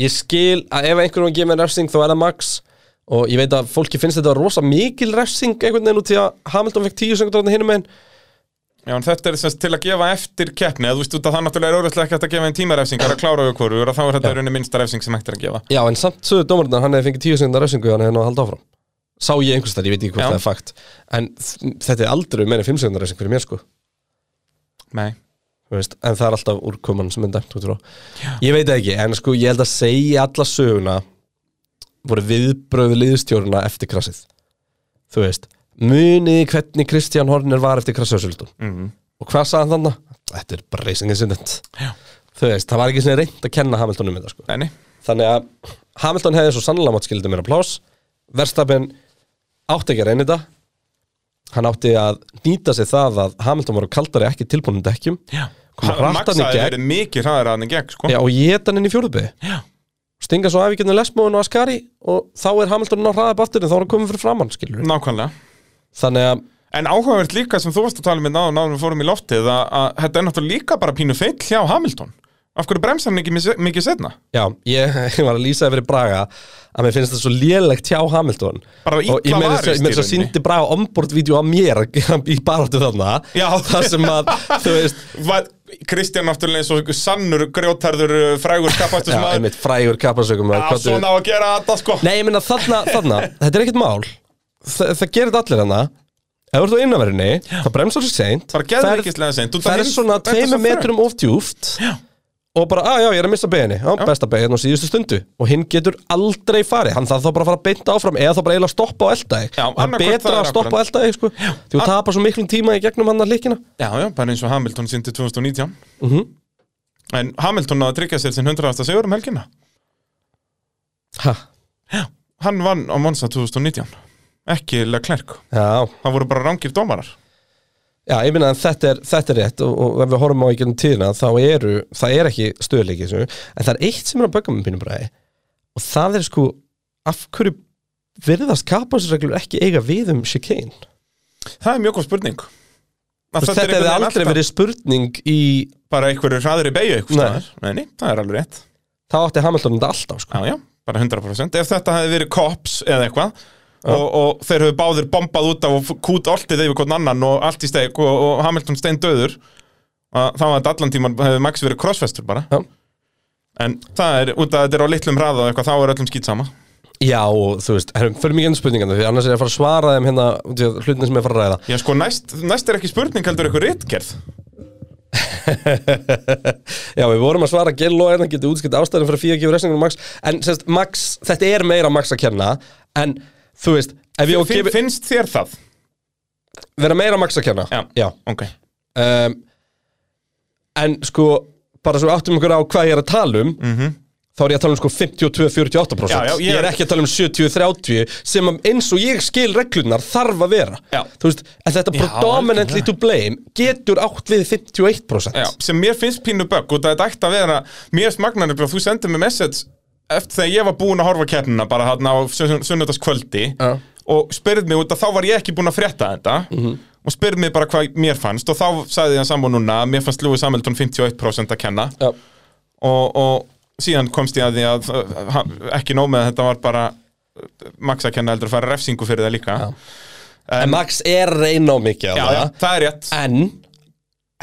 B: ég skil að ef einhverjum gefur mér refsing þá er það Max og ég veit að fólki finnst þetta rosa mikil refsing einhvern veginn út í að Hamilton fekk tíu sekundur hann hinum einn
C: Já, en þetta er semst til að gefa eftir keppni eða Þú veist, út að það náttúrulega er auðvitað ekki hægt að gefa einn tímarefsingar að klára við hverju og þá er þetta í rauninni minnsta refsing sem hægt er að gefa
B: Já, en samt sögðu dómarinn að hann hefði fengið tíu sekundar refsingu hann hefði náðu að halda áfram Sá ég einhvers þar, ég veit ekki hvort
C: Já.
B: það er fakt En þ- þetta er aldrei meira en fimm sekundar refsing fyrir mér sko
C: Nei
B: þú veist, En það er alltaf úrkoman sem er dæmt út frá Ég veit það ekki, en sko ég held að segja alla söguna voru viðbröðu liðstjóruna eftir krassið Þú veist, muniði hvernig Kristján Horner var eftir krassið á Sjöldum
C: Mhm.
B: Og hvað sagði hann þannig? Þetta er bara racing incident Þú veist, það var ekki svona reynd að kenna Hamilton um þetta sko
C: Nei, nei
B: þannig að Hamilton hefði svo sannlega mátt skildið mér að plás Verstappen átti ekki að reyna þetta hann átti að nýta sig það að Hamilton var á kaldari ekki tilbúinum dekkjum kom að
C: Max
B: rata hann í
C: hafði
B: gegn
C: verið mikið hraðar að hann í gegn sko.
B: já, og ég geta hann inn í fjóruðby
C: Já.
B: stinga svo af í getinu lesmóðun og Ascari og þá er Hamilton ná hraðið aftur en þá er hann komin fyrir framann skilur
C: Nákvæmlega
B: þannig að
C: En áhugavert líka sem þú varst að tala með náðum náðum við fórum í loftið að, að þetta er náttúrulega líka bara pínu feill hjá Hamilton Af hverju bremsa hann ekki mis- mikið setna?
B: Já, ég var að lýsa yfir í Braga að mér finnst það svo lélegt hjá Hamilton
C: Bara illa
B: og ég meira
C: varist
B: þess að-
C: í
B: ég meira þess að
C: rauninni.
B: síndi Braga ombordvídeó að mér í baráttu þarna
C: Já.
B: þar sem að, þú veist
C: Va Kristján náttúrulega eins og einhver sannur grjótarður uh, frægur skapastur
B: Já,
C: sem að
B: einmitt frægur kappasökum
C: Já, svona á að gera þetta sko
B: Nei, ég meina þarna, þarna, þetta er ekkert mál Þa, Það gerir þetta allir hana Ef þú ert á innaverinni, það bremsar sér seint
C: Bara geðveikislega seint. Þú- það
B: Það er
C: hins-
B: svona
C: þetta er svo
B: tveimur
C: þröngt.
B: metrum of djúft
C: Já.
B: Og bara, að já, ég er að missa beginni Já, besta beginni á síðustu stundu Og hinn getur aldrei farið Hann þarf þá bara að fara að beinta áfram Eða þá bara eiginlega að stoppa á eldaði
C: Já,
B: Það er
C: annað hvort
B: betra
C: það er
B: að stoppa á
C: akkurat.
B: eldaði, sko Því þú tapar svo miklum tíma í gegnum hann að Mhm. líkina
C: Já, já, bara eins og Hamilton sýndi 2019 En Hamilton náði að tryggja sér sinn 100. sigur um helgina
B: Ha,
C: Hann vann á Monsa 2019 Ekki Leclerc
B: já,
C: Það voru bara rángir dómarar
B: Já, ég minna að þetta er, þetta er rétt og, og ef við horfum á í gegnum tíðina þá eru, það er ekki stöðleiki þessu, en það er eitt sem er að bögga með pínum bræði og það er sko af hverju virðast kapasinsreglur ekki eiga við um chicane
C: Það er mjög góð spurning Að einhvern
B: Þetta, þetta hefði
C: veginn
B: aldrei
C: alltaf
B: verið spurning í
C: Bara einhverju hraður í beigju
B: Nei.
C: einhvers staðar. Nei, nei, það er alveg rétt
B: þá átti Hamilton þetta alltaf sko.
C: Já, já, bara 100% Ef þetta hefði verið kops eða eitthvað og, og þeir höfðu báðir bombað út af og kút oltið yfir hvern annan og allt í steg og, og Hamilton stein döður að þá var þetta allan tíman hefði Max verið crossfestur bara
B: Já.
C: En það er, út af þetta er á litlum hraða og eitthvað, þá er öllum skýt sama
B: Já, og þú veist, erum fyrir mikið enn spurningana því annars er ég að fara að svara þeim hérna út í að hlutin sem ég er að fara að ræða
C: Já, sko, næst, næst er ekki spurning heldur eitthvað réttgerð
B: Já, við vorum að svara Gill og Erna getur útskipt ástæðin fyrir að fíða að gefa resningunum Max En semst, Max, þetta er meira Max að kenna En, þú veist, ef ég á að
C: Finn,
B: gefa
C: Finnst þér það?
B: Vera meira Max að kenna
C: Já. Ok
B: Um, En sko, bara svo áttum ykkur á hvað ég er að tala um -hmm. Þá er ég að tala um sko 52-48%
C: Mhm. Já, já,
B: ég...
C: ég-
B: er ekki að tala um 70-30 Sem að eins og ég skil reglunar þarf að vera
C: Já.
B: Þú veist, en þetta predominantly to blame Getur átt við 51%
C: Já, sem mér finnst pínu bögg út að þetta ætti að vera mér finnst magnar nefnilega að þú sendir mér message eftir þegar ég var búin að horfa keppnina bara hann á sunnudagskvöldi
B: Já.
C: og spyrð mig út að þá var ég ekki búin að frétta þetta og spyrð mig bara hvað mér fannst og þá sagði ég hann saman núna að mér fannst Lewis Hamilton 51% að kenna
B: Já.
C: og, og síðan komst ég að því að uh, ha- ekki nóg með að þetta var bara uh, Max að kenna heldur að fara refsingu fyrir það líka já,
B: En Max er reyna á mikið á
C: já,
B: það
C: það er rétt
B: En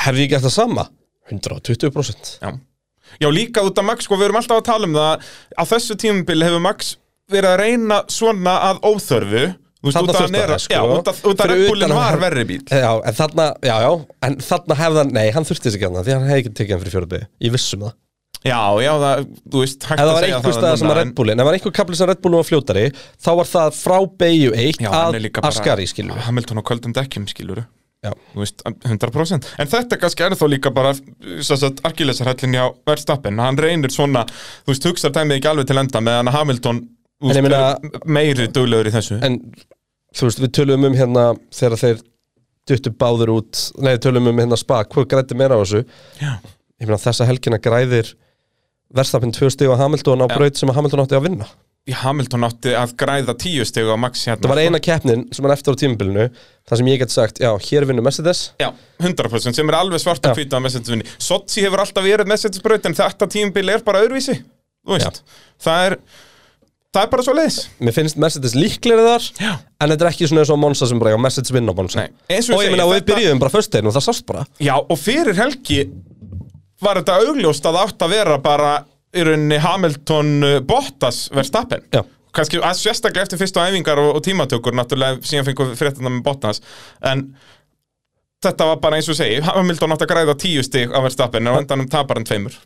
B: Hefði ég gert það sama? 120%
C: já. já, líka út af Max, sko, við erum alltaf að tala um það á þessu tímabili hefur Max verið að reyna svona að óþörfu Þú veist,
B: Þarna
C: út af
B: þurfti
C: hann er
B: hann,
C: að-
B: sko.
C: já, út af- út af
B: Fyrir
C: Red Bullin
B: utan
C: var
B: hann-
C: verri bíl
B: Já, en þarna, já, já En þarna hefði hann, nei, hann þurfti þess ekki hann Því hann hefði ekki tekið hann fyrir fjörðbyrði Ég vissum það
C: Já, já, það, þú veist, hægt að
B: Ef það var
C: segja
B: einhver stað sem að
C: núna,
B: Red Bullin Ef það var einhver kapli sem Red Bullin var fljótari Þá var það frá Beiu 1
C: Já, hann
B: að
C: er líka bara
B: Ascari, skilur við
C: Hamilton á kvöldum dekkjum skilur
B: Já.
C: Þú veist, 100% En þetta kannski er þó líka bara Arkilesarhællin hjá Verstappen Hann reynir svona, þú veist, hugsar dæmið ekki alveg til enda meðan að Hamilton þú
B: En ég
C: veist,
B: meina-
C: er meiri duglegur í þessu
B: En, þú veist, við tölum um hérna Þegar þeir duttu báður út Nei, tölum um hérna spa, hvað grætti meira á þessu
C: Já,
B: Ég meina þessa helgina græðir Verstafinn tvö stig á Hamilton á braut sem að Hamilton átti að vinna
C: Í Hamilton átti að græða tíu stegu á Max hérna
B: Það var eina keppnin sem hann eftir á tímabilinu þar sem ég get sagt, já, hér vinnur Mercedes
C: Já, 100% sem er alveg svart að
B: Já.
C: hvita að Mercedes-vinni Sochi hefur alltaf verið Mercedes-braut en þetta tímbil er bara öðruvísi Þú veist, það er Það er bara svo leiðis
B: Mér finnst Mercedes líklegri þar
C: Já.
B: en þetta er ekki svona eins og á Monza sem bara, já, Mercedes vinna á Monza
C: Nei, eins og
B: Og
C: ég segi,
B: ég meina, og við
C: þetta-
B: byrjuðum bara föstuðin og það sást bara
C: Já, og fyrir helgi var þetta augljóst að það átt að vera bara í rauninni Hamilton uh, Bottas verðstappen.
B: Já.
C: Kannski að sérstaklega eftir fyrstu æfingar og, og tímatökur, náttúrulega síðan fengum við fréttina með Bottas, en þetta var bara eins og ég segi, Hamilton átt að græða tíu stig á verðstappen en á endanum tapar hann tveimur.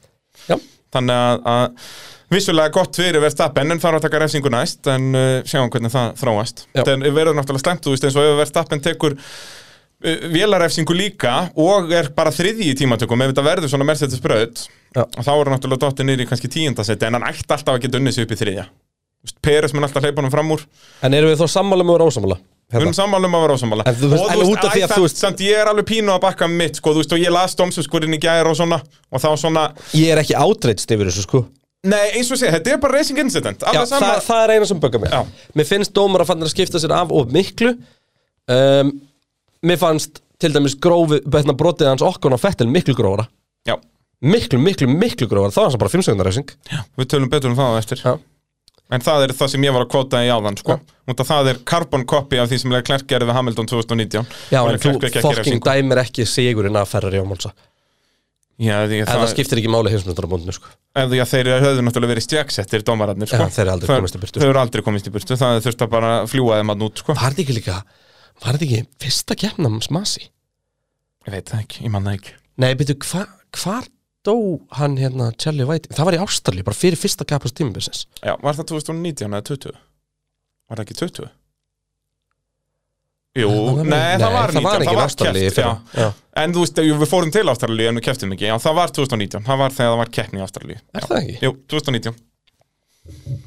B: Já,
C: Þannig að, að vissulega gott fyrir verðstappen en þarf að taka refsingu næst en uh, sjáum hvernig það þróast.
B: Já.
C: Það verður náttúrulega slemt þú veist eins og ef verðstappen tekur uh, vélarefsingu líka og er bara þriðji í tímatökum ef þetta verður svona Mercedes braut
B: Já.
C: og þá er hann náttúrulega dottir niður í kannski tíundasetti en hann ætti alltaf að geta unnið sig upp í þriðja. Þú veist, Peres mun alltaf hleypa hann fram úr
B: en eru við þó sammála með Hérna, og rásamála?
C: Við erum sammála um að vera ósammála
B: En þú veist, en út af því
C: æ,
B: að
C: samt-
B: þú veist-
C: Samt ég er alveg pínu að bakka mitt, sko, þú veist, og ég las domsuskurinn í gæri og svona Og þá svona,
B: Ég er ekki átreitst yfir þessu, sko
C: nei, eins og sé, þetta er bara racing incident
B: Já,
C: alveg
B: það,
C: sama-
B: það er eina sem böggar mig
C: Já.
B: Mér finnst dómar að fann að skipta sér af og miklu um, Mér fannst til dæmis grófi, betna brotið hans okkur á fettil miklu grófara
C: Já,
B: Miklu, miklu, miklu grófara, þá var hans bara 5 sekundar reysing
C: við tölum betur um það á eftir
B: Já.
C: En það er það sem ég var að kvota í áðan sko. Út að það er carbon copy af því sem Leclerc gerði við Hamilton 2019
B: Já,
C: Og
B: en
C: Leclerc
B: þú
C: ekki að gera
B: fokking
C: syngu.
B: dæmir ekki sigurinn að Ferrari á Monza
C: Já, því að
B: En það
C: það-
B: skiptir ekki máli hinsmyndarabundinu sko
C: En því að þeir höfðu náttúrulega verið stjagsettir dómararnir sko.
B: Já, þeir eru aldrei
C: Þeir-
B: komist í burtu.
C: Þeir eru aldrei komist í burtu Það þurfti að bara fljúa þeim að nút sko.
B: Var þetta ekki líka, var þetta ekki fyrsta keppnam smasi?
C: Ég veit það ekki, ég manna ekki
B: Nei, byrju, hva, hvar dó hann hérna Charlie White? Það var í Ástralíu, bara fyrir fyrsta keppast tímabilsins
C: Já, var það 2019 eða 20? Var það ekki 20? Jú, nei, það var 19
B: það var ekki í Ástralíu
C: keppt, já.
B: fyrir- já.
C: En þú veist, jú, við fórum til Ástralíu en við keftum ekki Já, það var 2019, það var þegar það var keppni í Ástralíu
B: Er það ekki?
C: Jú, 2019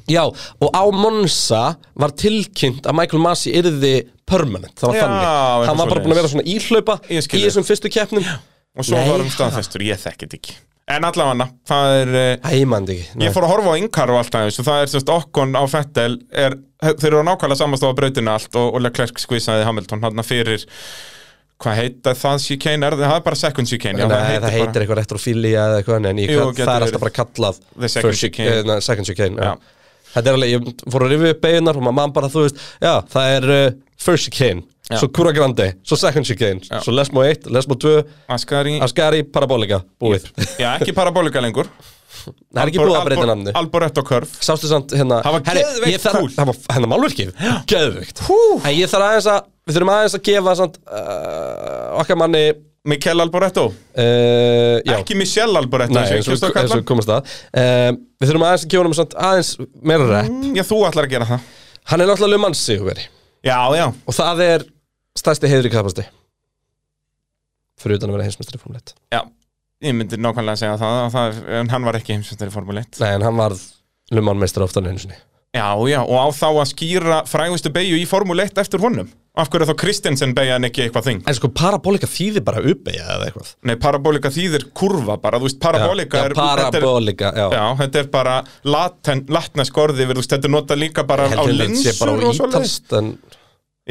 B: Já, og á Monza var tilkynnt að Michael Masi yrði permanent, það var
C: Já,
B: þannig
C: eitthvað
B: Hann var bara búin að vera
C: svoleiðis.
B: svona íhlaupa
C: Ég
B: í
C: skil þig.
B: þessum fyrstu keppnum
C: Og svo
B: Nei,
C: var hann
B: ha?
C: staðfestur, ég þekki þetta ekki En allavega, það er eh,
B: Æ, mann ekki Nei.
C: Ég fór að horfa á yngar og alltaf þessu Það er sérst okkon á Fettel er, Þeir eru á nákvæmlega samastofa brautina allt Og, og Leclerc skvísaði Hamilton hann fyrir Hvað heita það chicane? Er, það- það er bara second chicane já,
B: Nei, það heitir,
C: bara-
B: eitthvað retrofília eða eitthvað annað, en ég,
C: Jú,
B: hvað,
C: getur
B: það er
C: verið.
B: alltaf bara kallað
C: The second
B: first chic-
C: chicane.
B: eh, na, second chicane já.
C: Já.
B: Þetta er alveg, ég fór að rifja upp beginar og maður man bara, þú veist, já, það er uh, first chicane,
C: Já.
B: svo Cura Grande svo second chicane,
C: Já.
B: svo Lesmo 1 Lesmo 2,
C: Ascari
B: Ascari, Parabolica búið,
C: Já, ekki parabólika lengur
B: það er ekki búið að breyta namni
C: Alboretto Curve
B: Sástu samt hérna
C: Það var
B: herri,
C: geðveikt
B: ég þarf að-
C: kúl.
B: Það var hérna málverkið Geðveikt En ég þarf aðeins að Við þurfum aðeins að gefa samt uh, Okkar manni
C: Mikel Alboretto
B: uh, já.
C: Ekki Michelle Alboretto
B: Nei, eins
C: eins og ég kjóst
B: og
C: að kalla
B: eins og
C: hann.
B: komast að um, Við þurfum aðeins að gefa honum samt aðeins meira rep
C: Já, þú ætlar að gera það
B: Hann er náttúrulega mansi hugveri
C: Já, já
B: Og það er stærsti heiðri kapasti Fyrir utan að vera heimsmestri fórmleitt
C: Já, ég myndi nákvæmlega segja það, að það er- en hann var ekki heimsvöndar í Formule 1
B: Nei, en hann varð lumanmeistari ofta en einu sinni
C: Já, já, og á þá að skýra frægustu beigju í Formule 1 eftir honum Af hverju er þá Kristensen beigja en ekki eitthvað þing?
B: En sko, parabolika þýðir bara uppeyja eða eitthvað
C: Nei, parabólika þýðir kurva bara, þú veist, parabólika
B: Já,
C: er þetta er-
B: Parabolika, já,
C: Já, þetta er bara latin, latnesk orði, við, þú veist, þetta er notað líka bara á
B: Heldur þetta sé
C: linsur
B: bara á
C: og svoleiðis
B: ítalst En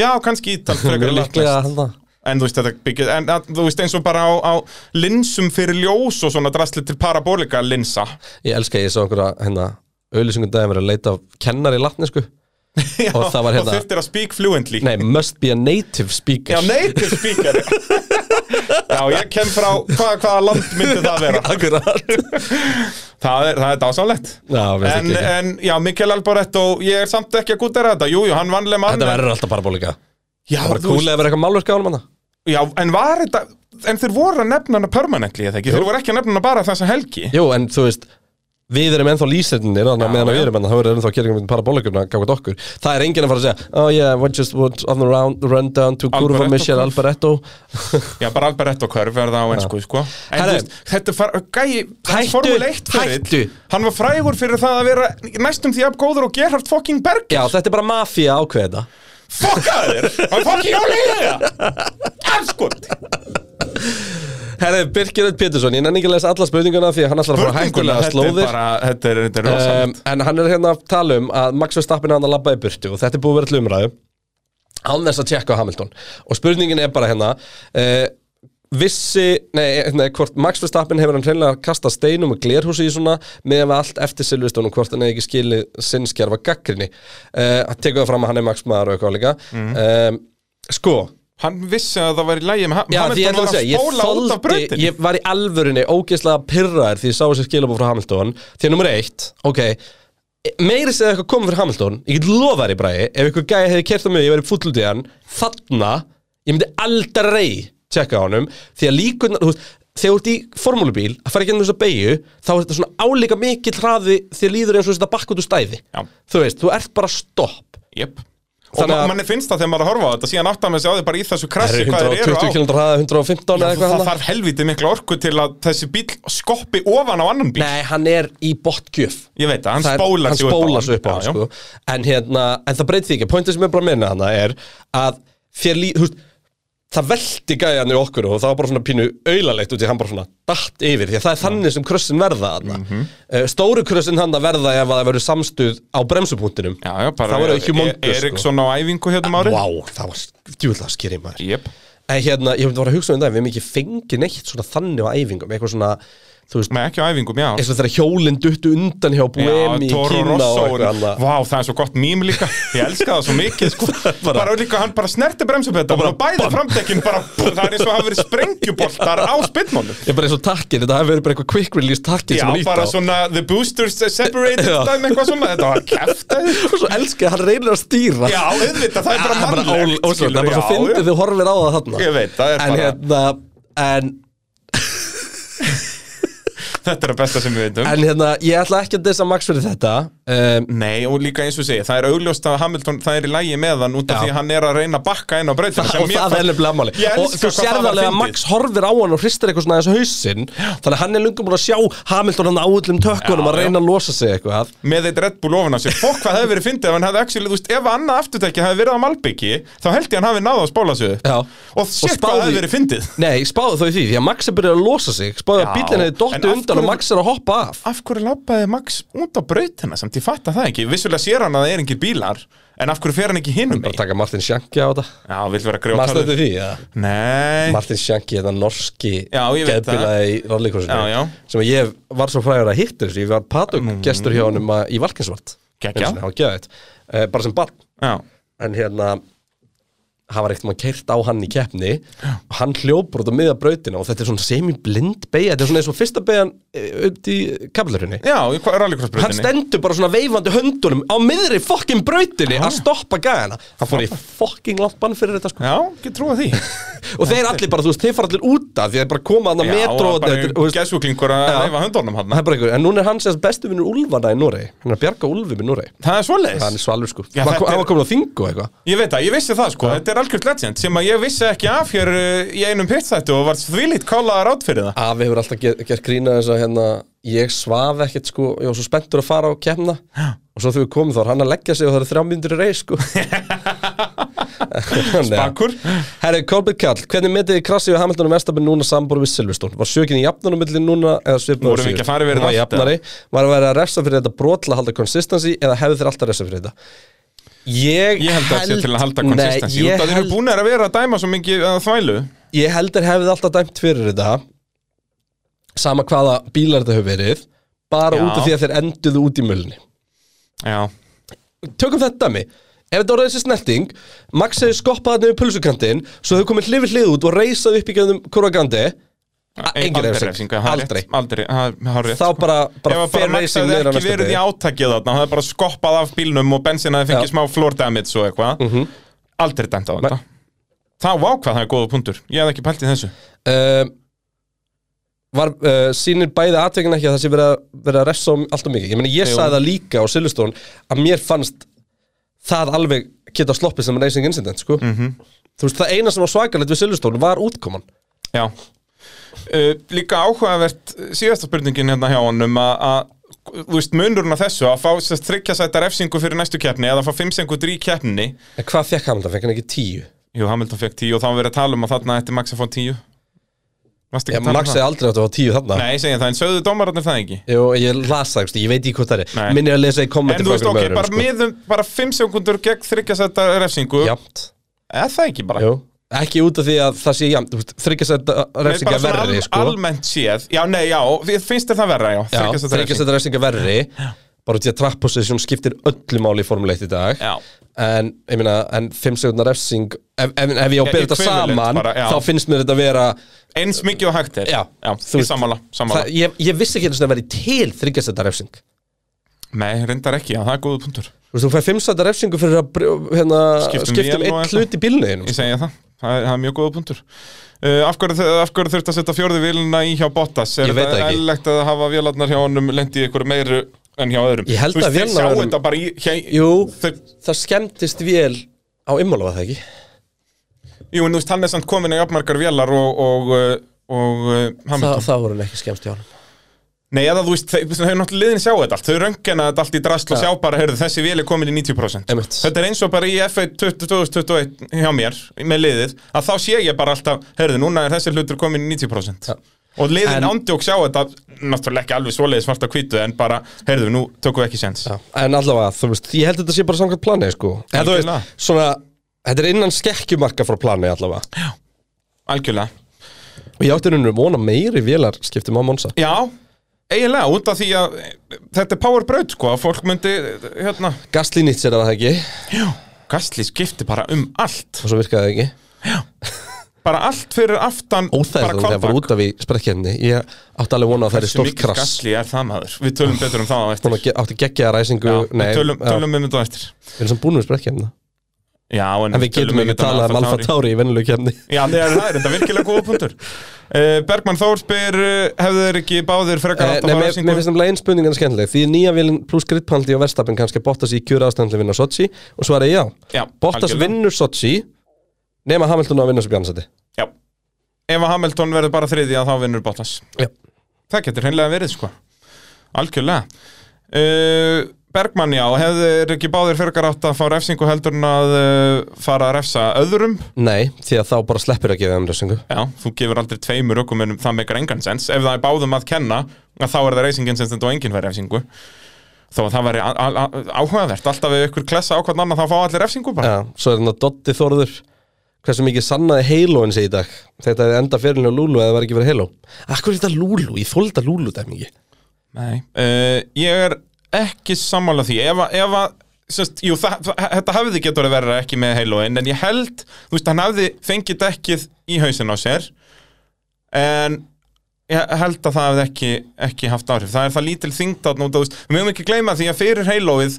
C: Já, kannski ítalst frekar en
B: mjög
C: latneskt.
B: líklega að halda
C: En þú veist, þetta byggir, en að, þú veist eins og bara á, á linsum fyrir ljós og svona drastli til parabolika linsa.
B: Ég elska að ég sá einhverja hérna, auðlýsingum daginn verið að leita af kennari latnesku
C: Já,
B: Og það var hérna-
C: Og þurftir að speak fluently.
B: Nei, must be a native speaker
C: Já, native speaker. Já, ég kem frá, hva, hvaða land myndi það vera?
B: Akkurat
C: Það er, það er dásamlegt
B: Já, mér finnst
C: en,
B: ekki.
C: en já, Mikael Alboretto, ég er samt ekki að gútera þetta Jú, jú, hann vannlega mann
B: Þetta verður alltaf parabólika
C: já,
B: Það var
C: þú
B: kúlega að vera eitthvað málverk á hann
C: já, en var þetta En þeir voru að nefna hana permanently, eða ekki? Þeir voru ekki að nefna hana bara þessa helgi
B: Jú, en þú veist Við erum ennþá lýsendinir, þannig að meðan að við erum ennþá, þá erum ennþá að gera einhvern parabólikumna gangið okkur. Það er enginn að fara að segja, oh yeah, we just went on the round, run down to Curva
C: Alboretto
B: Michel
C: curve.
B: Alboretto.
C: Já, bara Alboretto körf er það á ennsku, sko En
B: Herra-
C: þú veist, þetta far, gæi
B: Hættu,
C: Formule 1 ferill,
B: hættu.
C: Hann var frægur fyrir það að vera næstum því apgóður og Gerhard fucking Berger
B: Já, þetta er bara mafía ákveða.
C: Fuckaður, hann fucking álega það Afskot
B: Herri, Birkir Öll Pétursson, ég nenni ekki að lesa alla spurninguna því að hann ætlar að fara hættulega
C: Þetta er
B: slóðir.
C: bara, þetta er, þetta er rosalegt
B: um, en hann er hérna að tala um að Max Verstappen er hann að labba í burtu og þetta er búið að vera til umræðu án þess að tjekka á Hamilton og spurningin er bara hérna uh, vissi, nei, nei, hvort Max Verstappen hefur hann hreinlega kastað steinum og glerhúsi í svona meðan við allt eftir Silveston og hvort hann hefði ekki skilið sinnskjarfa gaggrinni uh, hann tekur það fram að hann er Max maður og eitthvað líka
C: Mhm.
B: um, sko
C: Hann vissi að það var í lægi með ha-
B: Já, því
C: Hamilton
B: ég ætla að
C: var að
B: segja, ég
C: spóla út af
B: þoldi,
C: brautin
B: ég var í alvörunni ógeðslega pyrraður því ég sá þessi skilabóð frá Hamilton Því að nummer eitt, ok, meiri segði eitthvað komið fyrir Hamilton, ég get lofað þér í bræði Ef eitthvað gæði hefði kert á mig, ég verið fúll út í hann, þarna, ég myndi aldrei tjekka á honum Því að líkun, þú veist, þegar þú ert í formúlubíl, að fara ekki ennum þess að beigju Þá er þetta svona álíka mikill hraði þér líður eins og þetta bakk út úr stæði
C: Já.
B: Þú veist, þú ert bara stopp
C: Jep Og
B: Þannig að-
C: ma- manni finnst það þegar maður er að horfa á þetta síðan átt að maður segja á því bara í þessu
B: Það
C: krassi
B: eru
C: hvað þeir eru á
B: 120 km hraði,
C: Já,
B: 115 eða eitthvað
C: Það
B: þarna.
C: þarf helviti mikla orku til að þessi bíl skoppi ofan á annan bíl
B: Nei, hann er í botgjöf
C: Ég veit það, hann
B: Það er-
C: spólar
B: hann
C: sig upp á
B: spólar sig upp á
C: Já,
B: hann
C: já.
B: sko. en, hérna, en það breyti því ekki pointið sem ég er bara að minna hana er að þér lí, þú veist, það velti gæjan í okkur og það var bara svona pínu aulalegt út í hann bara svona datt yfir því að það er þannig sem krössin verða hana
C: Mhm.
B: Eh, stóru krössin hann að verða ef að það verður samstuð á bremsupunktinum
C: Já, já, bara
B: það voru humongous sko.
C: Eriksson á æfingu hérna um árið
B: Vá, það var djúðlega skýrið maður
C: Jep
B: En hérna, ég var að hugsa um það, við hefum ekki fengið neitt svona þannig á æfingum, eitthvað svona, þú veist,
C: Nei, ekki á æfingum, já
B: eins og þegar hjólinn duttu undan hjá Buemi í
C: Toro
B: Kína
C: Rosso
B: og eitthvað annað.
C: Vá, það er svo gott mím líka Ég elska það svo mikið sko. bara, líka, hann bara snerti bremsupetta og bæði framdekkin bara Það er eins og hafa verið sprengjuboltar á spinnmónu
B: Ég bara eins og takkin, þetta hefur verið bara eitthvað quick release takkin
C: Já,
B: sem hann ítt
C: bara
B: á
C: svona The boosters separated
B: Já.
C: dæmi eitthvað svona Þetta var kæftið
B: Og svo elskið, hann reynir að stýra
C: Já, auðvitað, það er bara
B: Það er bara
C: mannlegt
B: ál- ósvöld, það er bara svo fyndið þú horfir á það þarna
C: Ég veit, það er
B: En
C: bara-
B: hérna, en,
C: Þetta er að besta sem við veitum
B: en hérna, ég ætla ekki að dissa Max fyrir þetta um,
C: Nei, og líka eins og segja, það er augljóst að Hamilton, það er í lægi með hann út af
B: Já.
C: því að hann er að reyna að bakka inn á breytina
B: Og það er nefnilega máli
C: Ég
B: Og
C: elska
B: þú
C: hvað það
B: sérð
C: var
B: alveg að
C: fyndið.
B: Max horfir á hann og hristir eitthvað svona þessu hausinn Þannig að hann er lungum búin að sjá Hamilton hann á öllum tökkunum
C: Já,
B: að
C: já.
B: reyna að losa sig eitthvað
C: með eitt Red Bull ofan á sér Fokk hvað hefði verið fyndið ef hann hefði actually, þú veist, ef annað afturtæki hefði verið á Malbyggi þá held ég hann hafi náða að spóla sig upp
B: Já.
C: og sér hvað
B: spáði-
C: hefði verið fyndið
B: Nei, spáðu þau því, því að Max er byrjað að losa sig Spáðu að
C: Já,
B: bílinn hefði
C: en
B: dottið
C: af
B: undan og
C: hverju-
B: Max er að hoppa af
C: Af hverju labbaði Max út á brautina samt ég fatta það ekki, vissulega sér hann að það er engir bílar en af hverju fer hann ekki hinum
B: Bara
C: megin?
B: taka Martin Sjanki á þetta
C: Já, vill vera grjótarður.
B: Maður stöndi því, já
C: Nei,
B: Martin Sjanki, þetta norski
C: Já, ég veit
B: geðbilaði í
C: Já, já. Mm.
B: rallikursinu sem að ég var svo frægur að hittu þessu ég var padug gestur hjá honum að- í Valkinsvart
C: Geggjað.
B: geðið Eh, bara sem barn
C: já,
B: en hérna hann var ekkert maður keirt á hann í keppni og hann hljópar út á miða brautina og þetta er svona semi-blind beigja þetta er svona eins og fyrsta beigjan upp í kaplurinni
C: já, í hvað er
B: hann
C: rallycrossbrautinni?
B: stendur bara svona veifandi höndunum á miðri fokkin brautinni að stoppa gæðana hann fór í fokkin langt bann fyrir þetta sko
C: Já, ekki trúa því
B: og þeir allir bara, þú veist, þeir fara allir úta því þeir bara koma hann að
C: Já, og
B: metro og
C: bara
B: þetta, þú veist,
C: geðsjúklingur að
B: Já.
C: leifa höndunum hann
B: það er bara einhver, en núna er hann sérst bestu vinnur Úlfana í Noregi, hann er að bjarga Úlfum í Noregi
C: Það er svoleiðis
B: hann er svalur sko,
C: Já,
B: hann
C: þetta er-
B: var komin á þingu og eitthvað
C: Ég veit það, ég vissi það sko, þetta er algjört legend sem að ég vissi ekki af hér uh, í einum pitstættu og var þvílít kálaðar átt fyrir það
B: Afi hefur alltaf ger, gert grína þess að hérna, ég svaf ekkert sko, ég var svo spenntur að fara á kemna og svo þegar við komum þá er hann að leggja sig og það eru þrjá myndur í reis sko Spakur
C: Bakur
B: Herri, Kolbjörn Kall, hvernig metið þið krassið við Hamilton og Verstappen núna sambor við Silveston? Var sjökin í jafnanum millir núna eða svipaður
C: Vorum við ekki að fara yfir þetta
B: Hún var
C: allt,
B: jafnari, var að vera að refsa fyrir þetta brotla að halda consistency eða hefðu þeir alltaf refsa fyrir þetta? Ég,
C: Ég held að það sé til að halda konsistensi Út
B: Nei, ég,
C: að þeir eru
B: held,
C: búin að vera að dæma svo mikið að þvælu
B: ég held að hefði alltaf dæmt fyrir þetta Sama hvaða bílar þetta hefur verið Bara
C: Já.
B: út af því að þeir enduðu út í mölni
C: Já,
B: tökum þetta dæmi Ef þetta voru þessi snerting, Max hefði skoppað þarna við pulsukantinn, svo hefði komið hlifið hlið út og reysað upp í gerðum Kuragandi, engin
C: aldrei
B: refsing.
C: refsing, það er
B: Aldrei.
C: rétt, Aldrei, það það er rétt
B: þá
C: sko.
B: bara,
C: Ef að
B: bara
C: bara
B: fer
C: Max
B: reysing
C: hefði
B: niður á
C: ekki
B: næsta
C: verið í
B: degi.
C: átakið þarna hann hefði bara skoppað af bílnum og bensin hefði fengið
B: Já. Mhm.
C: smá floor damage og eitthvað Aldrei dæmt á þetta Það var hvað það er góða punktur Ég hefði ekki pælt í þessu
B: Uh, var, uh, sýnir bæði atveikina ekki að það sé verið að, verið að refsa um allt og mikið. Ég meni, ég
C: Jú.
B: sagði það líka á Silvestón að mér fannst það alveg geta sloppið sem reysing incident, sko.
C: Mhm.
B: Þú veist, það eina sem var svakalegt við Silvestón var útkoman.
C: Já uh, Líka áhugavert uh, síðasta spurningin hérna hjá honum að- að þú veist munurinn að þessu að fá sérst þryggja sæta refsingu fyrir næstu keppni eða að fá fimm sengur í keppninni
B: En hvað fekk hann það? Fekk hann ekki tíu?
C: Jú, Hamilton fekk 10 og þá var verið að tala um að þarna ætti Max að fá 10 Varstu ekki
B: Ég
C: að tala um
B: Max
C: það?
B: hefði aldrei átt að fá tíu þarna.
C: Nei, ég segi það, en sögðu dómararnir það ekki
B: Jú, ég las það, ekki, ég veit ekki hvað það er
C: Nei.
B: Minni að lesa í kommenti
C: En þú veist, ok, bara sko. miðum bara 5 sekundur gegn þryggja sæta refsingu
B: Jamt,
C: Eða það ekki bara
B: jú Ekki út af því að það sé jamt Þryggjasætta
C: Nei, bara
B: refsinga
C: svona
B: verri,
C: al-
B: sko
C: Almennt séð, já, nei, já, við- finnst þér það verra, já,
B: Já,
C: þriggja sæta refsingu.
B: þryggjasætta refsinga verri Bara út í að trapp position skiptir öllu máli í formuleitt í dag
C: Já.
B: En, ég meina, en 5 sekundar refsing Ef, ef, ef ég á að
C: Já,
B: byrja þetta
C: equivalent
B: saman
C: bara, já.
B: Þá finnst mér þetta vera
C: Eins mikið og hægt er
B: Já, þú
C: þú
B: veist.
C: veist Sammála, sammála
B: það, ég, ég vissi ekki einu sinni að vera til þryggjasætta refsing
C: Nei, reyndar ekki, já, það er góðu punktur
B: Þú veist, þú fæði 5 sekundar refsingu fyrir að brjó- hérna,
C: Skiptum
B: skipta um
C: vél og
B: eitt
C: eitthvað.
B: hlut í bílniðinu
C: Ég segja það, það er, það er mjög góðu punktur uh, Af hverju, þ- af hverju þurfti að setja fjórðu vilina í hjá Bottas?
B: Ég
C: Er
B: veit það
C: þetta
B: ekki.
C: eðlilegt að hafa vélarnar hjá honum lendi í einhverju meiru en hjá öðrum?
B: Ég held
C: Þú
B: að
C: veist, þeir
B: vélarnar
C: sjá
B: væru-
C: þetta bara í hjá,
B: Jú.
C: þeir,
B: Það skemmtist vél á ymmálu, var það ekki?
C: Jú, en þú veist, hann er samt komin í jafnmargar vélar og, og, uh, og uh,
B: Þa,
C: Hamilton
B: það voru hann ekki skemmst í honum
C: Nei, eða þú veist, þeir, þeir hefur náttúrulega liðin sjá þetta allt Þau röngina þetta allt í drasl og
B: Já.
C: sjá bara, heyrðu, þessi vél er komin í 90%
B: Einmitt.
C: Þetta er eins og bara í F1 2021 hjá mér, með liðið Að þá sé ég bara alltaf, heyrðu, núna er þessi hlutur komin í 90%
B: Já.
C: Og liðin
B: En-
C: en... ándjók sjá þetta, náttúrulega ekki alveg svoleiðis svart á hvítu En bara, heyrðu, nú tökum við ekki sens
B: Já, en allavega, þú veist, ég held þetta sé bara samkvæmt planið, sko En þú
C: Algjörlega.
B: veist, svona, þetta er innan skekkjumarka frá planið allavega
C: Algjörlega
B: Og ég átti henni vona meiri vélar skiptum á Monsa
C: Já, eiginlega, út af því að e, þetta er power braut, sko Að fólk myndi, e, hérna,
B: Gasly nýtt sér að það ekki,
C: Gastli skipti bara um allt
B: og svo virkaði það ekki
C: Bara allt fyrir aftan, bara
B: Óþægilega þegar það var út af í sprekkjarni Ég átti alveg vona að það er
C: Hversu
B: stórt
C: mikill
B: krass
C: galli er það maður Við tölum betur um það á eftir
B: Hún
C: Já,
B: átti átti geggjaða ræsingu Nei,
C: Við tölum,
B: já,
C: tölum um þetta á eftir
B: við erum sem búin við sprekkjarnina
C: Já,
B: En við
C: tölum
B: getum ekki
C: þetta
B: talað um Alfa
C: Tauri.
B: Tauri í venulegu kjarni
C: Já, nei, það er þetta virkilega góða punktur uh, Bergmann Þór spyr uh, Hefðu þeir ekki báðir frekar átt að
B: Eh, Nei,
C: fara
B: mér,
C: að
B: mér
C: syngu?
B: finnst nefnilega einn spurningin skemmtileg Því nýja vilin pluss grittpaldi og verstapin kannski Bottas í kjöra ástæðanlega vinna Sochi Og svara ég já,
C: Já,
B: Bottas
C: algjörlega.
B: vinnur Sochi Nema Hamilton á að vinna sem bjarnsæti
C: Já Ef að Hamilton verður bara þriði að þá vinnur Bottas
B: Já.
C: Það getur hreinlega verið, sko Algjörlega uh, Bergmann, já, hefðu þeir ekki báðir frekar átt að fá refsingu heldur en að uh, fara að refsa öðrum
B: Nei, því að þá bara sleppir að gefa þeim refsingu
C: Já, þú gefur aldrei tveimur ökumennum það meikar engan sens Ef það er báðum að kenna, að þá er það racing incident og enginn verið refsingu Þó að það væri a- a- a- áhugavert Alltaf ef ykkur klessa á hvern annan þá fá allir refsingu bara
B: Já, svo er þannig að Dotti Þorður Hversu mikið sannaði Halo sig í dag Þetta hefði enda fyrirlega Lulu eða það var ekki verið Halo Akkur er þetta Lulu, ég þólda Lulu dæmingi
C: Nei uh, Ég er ekki sammála því Ef að, ef að Sest, jú, það, það, þetta hefði getur að vera ekki með heiloinn en ég held, þú veist, hann hefði fengið dekkið í hausinn á sér en ég held að það hefði ekki, ekki haft áhrif það er það lítil þyngd að nota við mögum ekki gleyma því að fyrir heilóið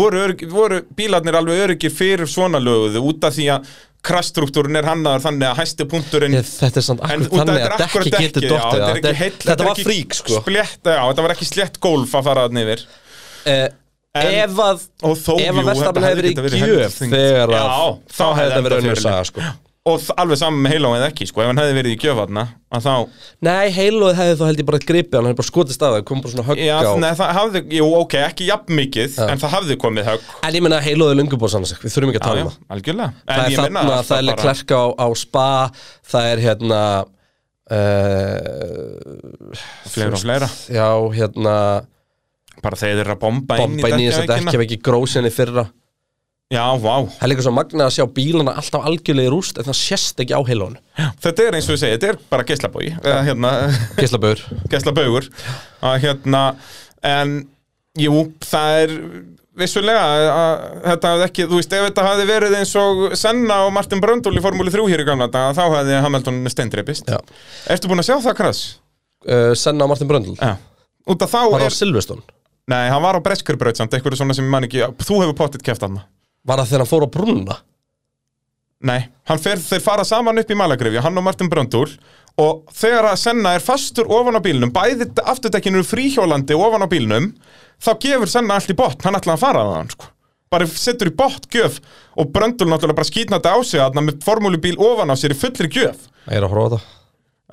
C: voru, örg, voru bílarnir alveg öryggir fyrir svona löguðu út af því að krassstruktúrin er hannaður þannig að hæsti punkturinn
B: Ég, Þetta er samt
C: Mm. En út af
B: akkur þannig
C: þetta
B: að
C: er akkurat
B: dekki getur
C: dekkið, já,
B: dottið
C: þetta
B: það.
C: er ekki heill-
B: Þetta þetta var
C: ekki
B: frík sko
C: slétt, já, þetta var ekki slétt gólf að fara þannig yfir
B: Eh,
C: En-
B: Ef að
C: og þó,
B: ef að
C: jú,
B: Verstappen
C: þetta
B: hefði
C: getað
B: verið í
C: helvítið
B: gjöf
C: þungt.
B: þegar að
C: Já,
B: þá hefði þetta verið önnur saga sko.
C: og þ- alveg saman með heilóið ekki, sko, ef hann hefði verið í gjöf þarna, að þá,
B: Nei, heilóið hefði þá held ég bara gripið hann, hann hefði bara skotist að það, kom bara svona högg
C: já,
B: á
C: nei, það hafði jú, ok, ekki jafn mikið, en það hafði komið högg,
B: En ég menna heilóið er löngu búið sann sig, við þurfum ekki
C: já,
B: að
C: já,
B: tala um það
C: algjörlega en
B: Það er
C: ég meina
B: þarna,
C: alltaf
B: það er
C: bara-
B: klerka á, á spa, það er hérna uh,
C: fleira og fleira,
B: Já, hérna
C: bara þeir eru að bomba inn í
B: bomba inn í þess að
C: dekkjaveikina.
B: ekki ekki grósinni fyrra
C: Já, vá
B: Það er líka svo magna að sjá bílana alltaf algjörlega í rúst en það sést ekki á heilón
C: Þetta er eins og ég segi, þetta er bara geislabói eða hérna,
B: Gíslaböður
C: geislabaugur að hérna, en jú, það er vissulega að þetta hafði ekki, þú veist, ef þetta hafði verið eins og Senna og Martin Bröndul í Formúli 3 hér í gamla daga, þá hafði Hamilton steindreipist.
B: Já.
C: Ertu búin að sjá það, Kras?
B: uh, Senna og Martin Bröndl
C: Já. Út af þá
B: Var það
C: er,
B: Silveston?
C: nei, hann var á Breskurbraut samt, eitthvað svona sem ég man ekki, þú hefur pottitt keft hann.
B: Var það þegar hann fór á brúnna?
C: Nei, hann fer, þeir fara saman upp í Malagrifja, hann og Martin Bröndúl og þegar að Senna er fastur ofan á bílnum, bæði afturdekkinu fríhjólandi ofan á bílnum, þá gefur Senna allt í botn, hann ætlaði að fara að hann sko. Bara setur í botn gjöf og Bröndúl náttúrulega bara skýtna þetta á sig að hann með formúlubíl ofan á sér í fullri gjöf.
B: Ég er að horfa á þetta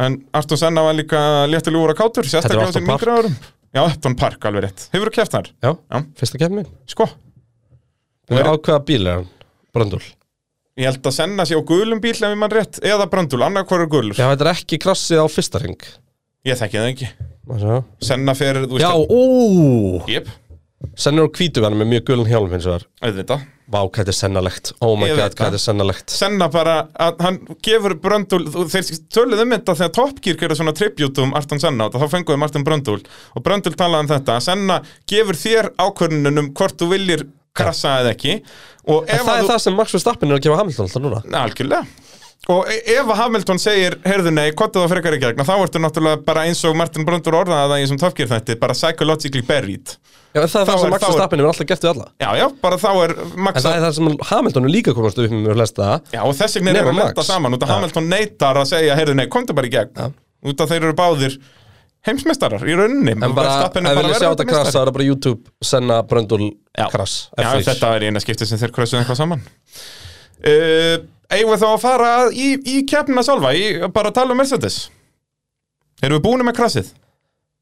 C: En Arton Senna var líka léttilegur að kátur, sérstaklega á
B: Upton
C: sínum
B: Park.
C: yngri árum. Já, Upton Park, alveg rétt. Hefur þú kæft þar?
B: Já,
C: Já.
B: fyrsta kemni
C: Sko,
B: Við
C: er-
B: erum ákveða bíl er hann Bröndl Já,
C: ég held að Senna sé á gulum bíl ef ég mann rétt, eða Bröndúl, annað hvað er gulur.
B: þetta er ekki krassið á fyrsta ring
C: Ég þekki það ekki.
B: Má sjá.
C: Senna fer, þú
B: Já,
C: veist,
B: ú
C: Jep,
B: Senna er á hvítu hann er með mjög gulun hjálm hins vegar
C: auðvitað
B: Vá, hvað þetta er sennalegt Oh my
C: Ég
B: god,
C: veit
B: hvað
C: það.
B: þetta er sennalegt
C: Senna bara, að hann gefur Bröndúl þú- Þeir töluðu um þetta þegar Top Gear gerði svona tribute um Arton Senna og Þá fenguðu Martin Bröndúl Og Bröndúl talaði um þetta að Senna gefur þér ákvörnunum hvort þú viljir krassa eða ekki Og
B: En
C: ef
B: það
C: að
B: er
C: þú
B: það sem Max Verstappen er að gefa Hamilton alltaf núna
C: Algjörlega Og e- ef að Hamilton segir, heyrðu nei, hvort það frekar ekki gegna, þá ertu náttúrulega bara eins og Martin Bröndur orðaði það í þessum topkýr þetta, bara psychologically buried.
B: Já, en það er
C: Þá
B: það
C: er-
B: sem Max
C: þá er-
B: Verstappen hefur alltaf gert við alla
C: Já, já, bara þá er
B: En
C: Max
B: það er það sem Hamilton er líka komast upp með flesta
C: Já, og þess vegna er
B: Nema
C: að lenda
B: Max.
C: saman út að Hamilton neitar að segja, heyrðu, nei, komdu bara í gegn út að þeir eru báðir heimsmeistarar í rauninni
B: En bara, ef
C: Verstappen er
B: við vilja sjá þetta
C: verðandi
B: krass, þá er það bara YouTube, Senna, Bröndul,
C: Já.
B: krass
C: meistari. Já,
B: F1.
C: þetta er eina skipti sem þeir krössuðu eitthvað saman uh, Eigum við þá að fara í, í keppnina sjálfa, í, bara að tala um Mercedes Erum við búinu með krassið?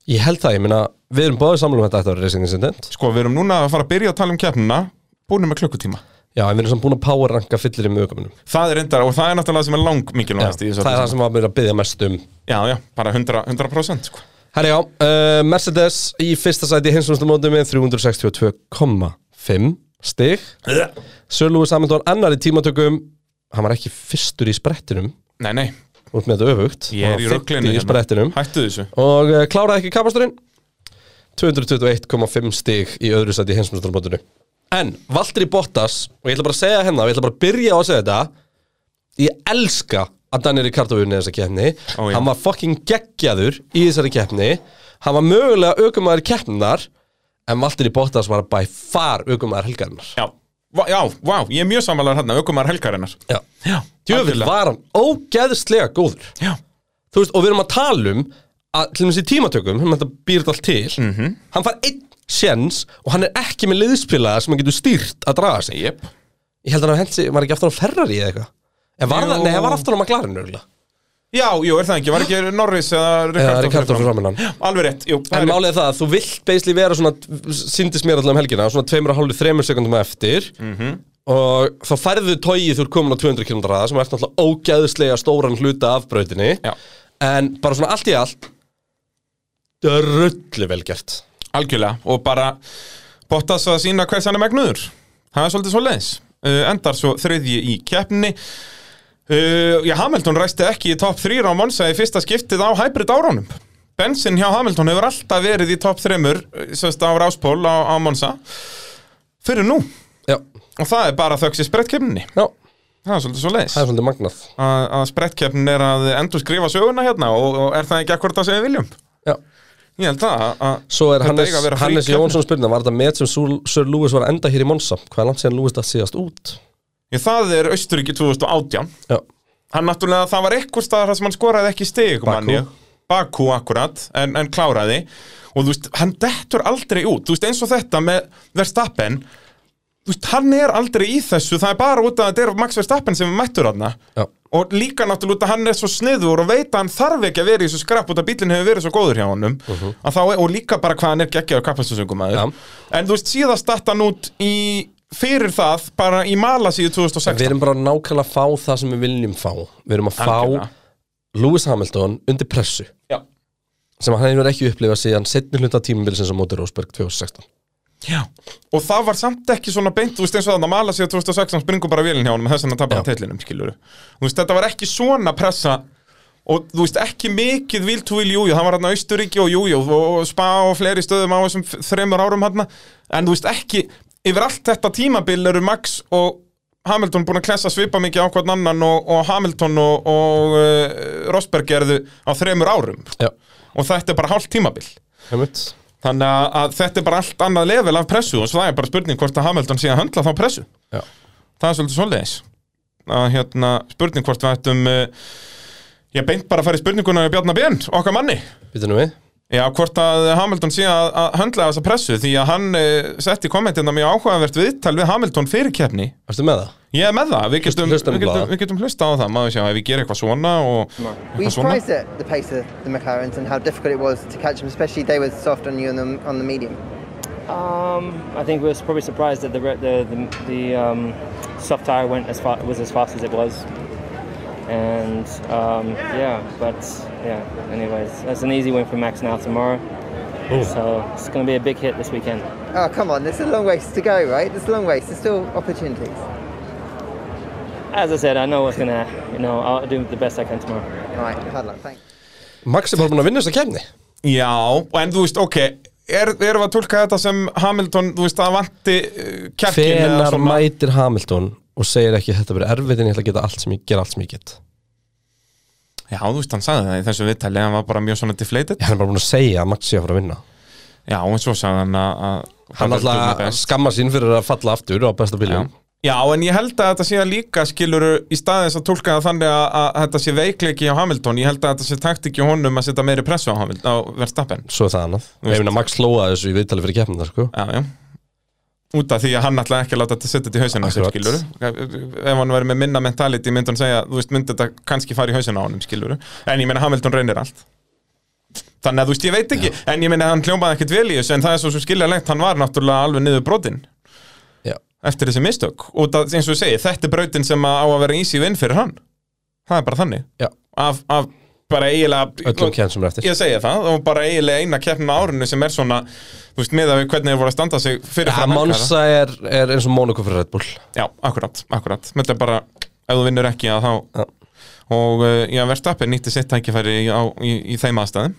B: Ég held það, ég meina, við erum báðið samlum þetta eftir Racing Incident
C: Sko, við erum núna að fara að byrja að tala um keppnina búinu með klukkutíma
B: Já, en við erum samt búin að power ranka fyllir með aukumunum
C: Það er reyndar, og það er náttúrulega sem er lang
B: Það
C: mikilvægast í
B: er
C: þessu
B: það
C: öllu saman.
B: sem var mér að byggja mest um
C: Já, já, bara 100%, 100% sko.
B: Herra já, uh, Mercedes í fyrsta sæti hinsumstumóti með 362,5 stig Sir Lewis Hamilton annar í tímatökum Hann var ekki fyrstur í sprettinum
C: Nei, nei,
B: út með þetta öfugt
C: ég
B: Hann
C: er í hérna.
B: var
C: rugglinu
B: 50 í sprettinum
C: Hættu þessu
B: og uh, kláraði ekki kapasturinn 221,5 stig í öðru sæti í heimsmyndstarmótinu en Valtteri Bottas og ég ætla bara að segja hennar, ég ætla bara að byrja á að segja þetta ég elska að Daniel Ricardo unni þessa keppni
C: Ó, já.
B: hann var fucking geggjaður í þessari keppni hann var mögulega aukumæður keppnar en Valtteri Bottas var by far aukumæður helgarinnar
C: Já, vá, já, vá, ég er mjög samanlegar hann að aukumar helgarinnar
B: já.
C: Já,
B: djöfull var hann ógeðslega góður
C: Já,
B: þú veist, og við erum að tala um að til dæmis í tímatökum, hann þetta býr þetta allt til
C: Mhm.
B: -hmm. hann fær einn sjens og hann er ekki með liðspilaða sem hann getur stýrt að draga sig
C: jep
B: ég held að hann hensi, var ekki aftur á Ferrari eða eitthvað en var það,
C: Jú.
B: nei, hann var aftur á McLaren örugglega.
C: Já, jú, er það ekki, var ekki Norris eða Ricardo,
B: eða
C: fyrir
B: Ricardo fyrir
C: fram?
B: framann hann
C: Alveg rétt, jú, það
B: en
C: er
B: málið er það að þú vilt basically vera svona, síndist mér allavega um helgina svona tveimur og hálfu, þremur sekundum eftir
C: Mhm.
B: -hmm. og þá færðu tóið þú er komin á 200 km ræða sem er náttúrulega ógæðislega stóran hluta af brautinni
C: Já.
B: en bara svona allt í allt drullu vel gert
C: algjörlega Og bara Bottas að sína hvers hann er megnuður Það er svolítið svo leiðis uh, Endar svo þriðji í keppni uh, Já, Hamilton ræsti ekki í top 3 á Monsa í fyrsta skiptið á hybrid áránum Bensin hjá Hamilton hefur alltaf verið í top 3 Sjöst á Ráspól á, á Monsa Fyrir nú
B: Já,
C: Og það er bara þöggs í sprettkeppninni
B: já,
C: Það er svolítið svo leiðis
B: það er svolítið magnað
C: að, að sprettkeppnin er að endur skrifa söguna hérna og, og er það ekki akkurat það sem við viljum
B: já.
C: Ég held það að- að
B: Svo er
C: þetta
B: Hannes,
C: eiga að vera frí
B: Hannes
C: keppni.
B: Jónsson spurning Var þetta met sem Súl- Sir Lewis var að enda hér í Monsa? Hvað er langt síðan Lewis það síðast út?
C: Ég, Það er Austuríki 2018
B: Já,
C: Hann náttúrulega, það var ekkur staðar þar sem hann skoraði ekki stig
B: Bakú.
C: mann ég. Bakú akkurat, en, en kláraði Og þú veist, hann dettur aldrei út Þú veist, eins og þetta með Verstappen Þú veist, hann er aldrei í þessu Það er bara út af að þetta er Max Verstappen sem er mættur hann
B: já,
C: og líka náttúrulega út að hann er svo sniður og veit að hann þarf ekki að vera í þessu skrapp út að bílinn hefur verið svo góður hjá honum uh þá, er- og líka bara hvað hann er geggjaður kapastusöngum aður
B: Mhm. Já.
C: en þú veist síðast datt hann út í fyrir það bara í Malasíu
B: við
C: 2016
B: erum bara nákvæmlega að fá það sem við viljum fá Við erum að fá
C: Algjörlega.
B: Lewis Hamilton undir pressu
C: Já.
B: sem hann hefur ekki upplifað síðan setni hluta tímabilsins á móti Rósberg 2016
C: Já. Og það var samt ekki svona beint, þú veist eins og þannig að mala sig 2006, hann springur bara vélinn hjá honum og þess vegna tapar hann teitlinum, skilur Þú veist, þetta var ekki svona pressa og þú veist, ekki mikið vil to will jújú, hann var hann á Austuríki og jújú og, og spa og fleiri stöðum á þessum f- þremur árum hann, en þú veist, ekki yfir allt þetta tímabil eru Max og Hamilton búin að klessa svipa mikið á hvern annan og, og Hamilton og, og uh, Rosberg gerðu á þremur árum
B: Já,
C: og þetta er bara hálft tímabil
B: heimitt
C: Þannig að, að þetta er bara allt annað level af pressu og svo það er bara spurning hvort að Hamilton sé að höndla þá pressu.
B: Já,
C: Það er svolítið svoleiðis. Að hérna, spurning hvort við ættum, uh, ég beint bara að fara í spurninguna við Bjarnar Björn, okkar manni.
B: býtum við
C: Já, hvort að Hamilton sé að, að höndla þessa pressu því að hann uh, setti kommentina mjög áhugavert viðtal við Hamilton fyrir keppni.
B: Ertu með það?
C: Ég er með það, við getum,
B: hlustum
C: við
B: bara.
C: getum, við getum hlusta á það, maður sé að ef ég ger eitthvað svona og
D: Were you
C: eitthvað svona.
D: surprised at the pace of the McLarens and how difficult it was to catch them, especially they were soft on you on the, on the medium?
E: I think we were probably surprised that the re- the the, the um, soft tire went as far was as fast as it was, and um, yeah, but yeah. Anyways, that's an easy win for Max now tomorrow. So it's going to be a big hit this weekend.
D: Oh, come on, there's a long race to go, right? There's a long race, there's still opportunities.
E: As I said, I know what's going to you know I'll do the best I can tomorrow.
D: All right, hard luck, thanks.
B: Max er bara búin að vinna þessa kemni
C: Já, en þú veist, ok er, erum við að tólka þetta sem Hamilton þú veist, að vanti uh, kjarkin eða
B: Hvenar
C: svona-
B: mætir Hamilton og segir ekki þetta verið erfitt en ég ætla að geta allt sem ég gera allt sem ég get
C: Já, þú veist, hann sagði það í þessu viðtali hann var bara mjög svona deflated
B: Ég hann er bara búin að segja að Max sé að fara að vinna
C: Já, en svo sagði hann að að-
B: Hann
C: að-
B: alltaf
C: að-
B: að skamma sín fyrir að falla aftur á besta bílum
C: Já, en ég held að þetta sé að líka skiluru í staðins að tólka það þannig að, að þetta sé veikleiki hjá Hamilton ég held að þetta sé taktikki honum að setja meiri pressu á Hamilton á verðstappen
B: Svo er það annað Ég meina Max slóa þessu í viðtali fyrir keppnina sko
C: Já, já Út af því að hann ætlaði ekki að láta þetta setja þetta í hausinu sér,
B: Akkurat.
C: skiluru Ef hann væri með minna mentality myndi hann segja Þú veist, myndi þetta kannski fara í hausinu á honum, skiluru En ég meina Hamilton reynir allt Þannig að þú veist, ég veit ekki En ég meina hann hljómaði ekkit vel í þessu En það er svo sem skilja lengt, hann var náttúrulega alveg niður brotinn
B: Já,
C: Eftir þessi mistök Út af, eins og ég segi, þetta er brautin sem á að vera easy win fyrir hann Það er bara þannig
B: já,
C: Af, af bara eiginlega
B: öllum kemn sem er eftir
C: Ég segi það, og bara eiginlega eina keppnum árinu sem er svona, þú veist, með að við hvernig þau voru að standa sig fyrir
B: Já, Monsa er, er eins og Monaco fyrir Red Bull
C: Já, akkurat, akkurat Þetta er bara, ef þú vinnur ekki að þá
B: Já.
C: Og uh, já, Verstappen nýtti sitt tækifæri í, á, í, í þeim aðstæðum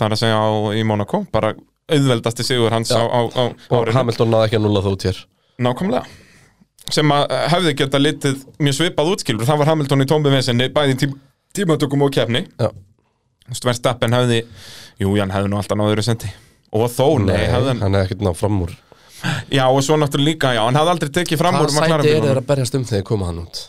C: Það er að segja á, í Monaco Bara auðveldasti sigur hans á,
B: Já.
C: á, á
B: Og
C: árinu.
B: Hamilton náði ekki að nulla það út hér
C: Nákvæmlega Sem að eh, hefði geta litið mjög svipað útskilur Það var Hamilton í tómi vesenni Bæði í tím, tímatökum og kefni
B: Já,
C: Verstappen hefði, jú, hann hefði nú alltaf náður sendi Og þó, nei,
B: nei,
C: hefði hann
B: hann er ekkert náð fram úr
C: Já, og svo náttúrulega líka, já, hann hefði aldrei tekið fram úr
B: Hvað
C: McLaren
B: sæti er
C: bílunum.
B: þeir að berjast um þegar koma hann út?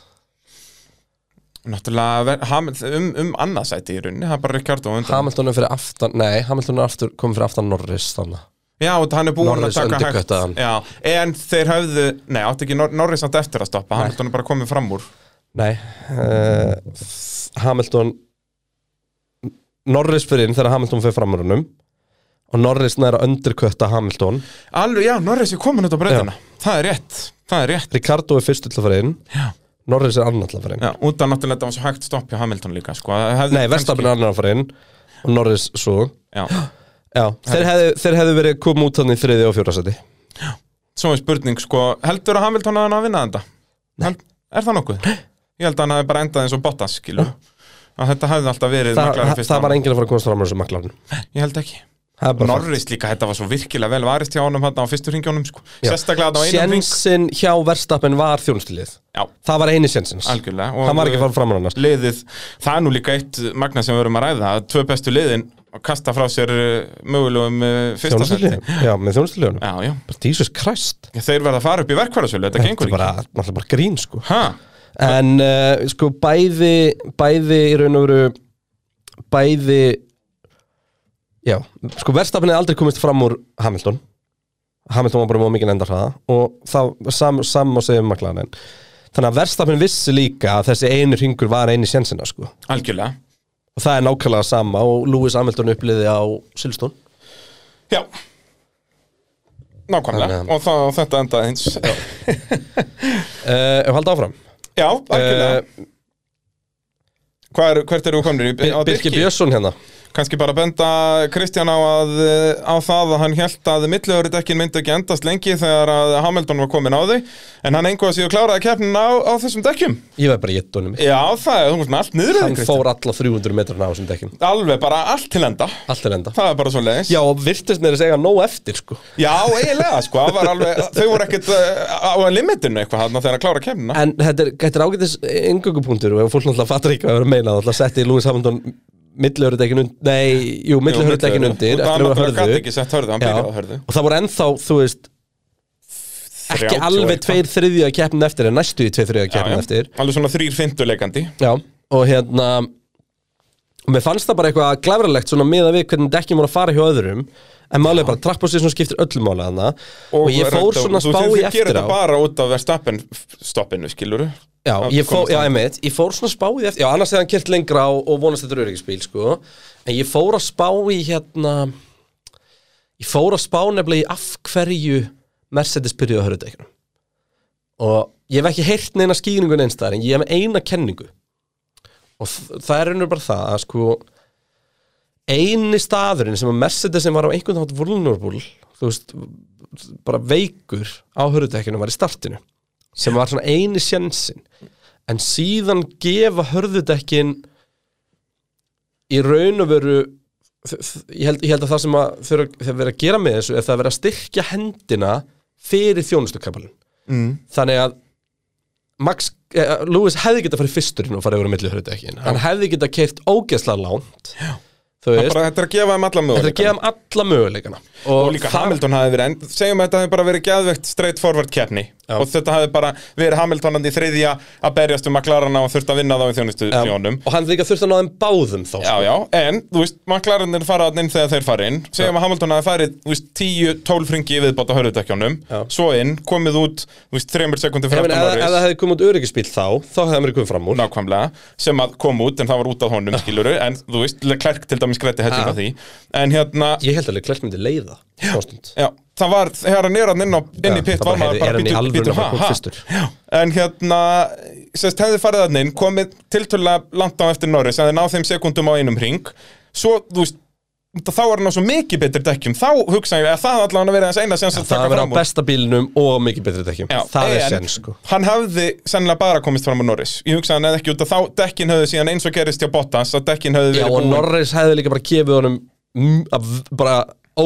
C: Náttúrulega ver- Hamil- um, um annað sæti í rauninni, það er bara Ricardo á undan
B: Hamilton er fyrir aftan, nei, Hamilton er aftur, komið fyrir aftan Norris þannig
C: Já, og hann er búinn að
B: Norris
C: taka hægt
B: undirköttaði hann.
C: Já, en þeir höfðu, nei, átti ekki Nor Norris átti eftir að stoppa, Hamilton er bara komið fram úr
B: Nei, uh, Hamilton Norris fyrir inn þegar Hamilton fyrir framrunum og Norris næra underkötta Hamilton
C: Alveg, já, Norris er komin út á breytina Það er rétt, það er rétt
B: Ricardo er fyrst til að fara inn
C: Já.
B: Norris er annar til að fara inn
C: Já, út af náttúrulega þetta var svo hægt stopp hjá Hamilton líka, sko það hefði
B: Nei, Verstafin er annar að fara inn og Norris svo
C: Já,
B: Já, þeir hefðu, þeir hefðu verið komið út þannig í þriði og fjóra seti
C: svo er spurning, sko, heldur að Hamilton að hann að vinna þetta? Nei Er það nokkuð? Ég held að hann hefði bara endað eins og Bottas, skilu Að þetta hefði alltaf verið
B: Þa,
C: McLaren fyrst
B: Það var
C: fram.
B: enginn að fara að komast fram úr þessu maklarinn
C: Ég held ekki
B: Það er bara
C: Norris líka, þetta var svo virkilega vel varist hjá honum hérna á fyrstu ringjónum sko. sérstaklega þarna á einum ring
B: Sjensin hjá Verstafin var þjónstilið
C: Já,
B: Það var eini sjensins
C: algjörlega eh,
B: Hann var ekki að fara fram úr annars
C: liðið, það er nú líka eitt magna sem við erum að ræða, að tvö bestu liðin kasta frá sér eh, mögulegum eh, fyrsta sæti.
B: Þjónustiliðum, já, með þjónustiliðunum
C: Já, já,
B: bara Jesus Christ
C: þeir verða að fara upp í verkvarðasölu, þetta
B: þetta
C: gengur
B: er bara, náttúrulega bara grín sko
C: ekki Ha,
B: en uh, sko bæði bæði í raun og veru bæði já, sko verðstafin er aldrei komist fram úr Hamilton Hamilton var bara mjög mikið enda hraða og það sam, sam og segjum maklaðan þannig að verðstafin vissi líka að þessi einu hringur var eini sjensina sko og
C: algjörlega
B: það er nákvæmlega sama og Lewis Hamilton uppliði á Silstón
C: Já Nákvæmlega,
B: Þannig að-
C: og þá, þetta endaði eins Já,
B: uh, ef halda áfram
C: algjörlega
B: uh,
C: Hvar, Hvert eru við komnir? í- á
B: Birgir
C: Birki?
B: Björnsson hérna
C: kannski bara benda Kristján á, að, eh, á það að hann held að millöðuridekkin myndi ekki endast lengi þegar að Hamilton var komin á þau en hann engu að síðu kláraði keppnin á, á þessum dekkjum
B: Ég var bara í ettunum
C: Já, það er þú veist með allt niður í þig,
B: Hann
C: Kristján.
B: fór alla 300 metrana á þessum dekkjum
C: Alveg bara allt til enda
B: Allt er enda
C: Það er bara svo leiðis
B: Já, og virtist með þess eiga nóg eftir sko
C: Já, eiginlega, sko, það var alveg, þau voru ekkert eh, á limitinu eitthvað hann þegar að klára kemna
B: En þetta er, þetta er ágætis yngöngupunktur og ef fólk náttúrulega fattar ekki hvað það er að meina þá náttúrulega setti Lewis Hamilton millihörudekkin undir Nei, jú, millihörudekkin undir
C: Það
B: eftir að vera
C: gæti
B: hörðu
C: ekki sett hörðu, hann
B: Já,
C: byrjaði á hörðu
B: og það voru ennþá, þú veist
C: 30
B: ekki
C: og
B: alveg
C: eitthvað.
B: tveir þriðja keppnum eftir en næstu í tveir þriðja
C: Já, já.
B: keppnum eftir
C: Alveg svona þrýr fintuleikandi
B: Já, og hérna og mér fannst það bara eitthvað glæfralegt svona með að við hvernig dekkjum voru að fara hjá öðrum en málega bara trappposition skiptir öllum málega þarna og, ég fór svona spá í
C: Þú gerir
B: eftir á
C: þetta bara út af verðstappen stoppinu, skilur
B: Já,
C: Að
B: ég fór,
C: komast
B: já,
C: þangað.
B: einmitt, ég fór svona spá í eftir Já, annars hefði hann kert lengra og, og vonast þetta öryggisbíl, sko En ég fór að spá í hérna Ég fór að spá nefnilega í af hverju Mercedes byrjuði að hörðu dekkjunum Og ég hef ekki heyrt neina skýringu neins þar En ég hef eina kenningu Og þ- það er raunur bara það að sko Eini staðurinn sem að Mercedes sem var á einhvern þátt vulnerable Þú veist, bara veikur á hörðutekjunum var í startinu sem var svona eini sjensin en síðan gefa hörðudekkin í raun og veru þ- þ- ég held, ég held að það sem að þeir þeir verið að gera með þessu er það að vera að styrkja hendina fyrir þjónustukapalinn mm. þannig að Max, eh, Lewis hefði getað farið fyrstur inn og farið yfir á milli hörðudekkin hann hefði getað keift ógeðslega lánt Já. þú veist,
C: Bara þetta er að gefa þeim alla
B: þetta
C: möguleikana
B: er að gefa um alla möguleikana
C: Og líka Hamilton hafi verið, en segjum að þetta hafi bara verið geðvegt straight forward keppni
B: Já.
C: og þetta hafi bara verið Hamiltonandi þriðja að berjast um McLaren og þurft að vinna þá í þjónustu
B: Já,
C: sjónum
B: og hann líka þurfti að ná þeim báðum þá
C: Já, já, en, þú veist, McLarenir fara þarna inn þegar þeir fara inn segjum að Hamilton hafi farið, þú veist, 10-12 fringi í viðbátt á hörðutekjónum
B: Já.
C: svo inn, komið út, þú veist, 3 sekundi
B: Ég
C: fyrir
B: meina,
C: aftan
B: ef, ef það
C: Norris
B: hefði komið út öryggisbíl þá, þá hefði hann verið komið fram úr
C: nákvæmlega, sem að kom út en það var út af honum, skiluru, en þú veist Klerk til dæmis grætti helling á
B: Já.
C: því en hérna,
B: Ég held alveg Klerk myndi leiða Konstund
C: já, það var, þegar hann er hann inn, á, inn
B: Já,
C: í pitt
B: það bara,
C: var maður
B: heyrðu, er
C: bara
B: hann í
C: býtu,
B: alvörunni
C: býtu,
B: að fara að koma
C: ha,
B: fyrstur?
C: ha en hérna, sérst, hefði farið þarna inn komið tiltölulega langt á eftir Norris en þeir náð þeim sekundum á einum ring svo, þú veist, þá er hann á svo mikið betri dekkjum, þá hugsa ég að það allan að vera þess eina sens að
B: Það
C: taka
B: að vera á
C: fram úr
B: besta bílnum og mikið betri dekkjum
C: Já,
B: Það er
C: en
B: sen sko
C: Hann hafði sennilega bara komist fram á Norris Ég hugsa hann eða ekki út að þá dekkin höfðu síðan eins og gerist hjá Bottas að dekkin höfðu
B: Já
C: verið
B: og
C: búin
B: Norris hefði líka bara gefið honum mm, að v- bara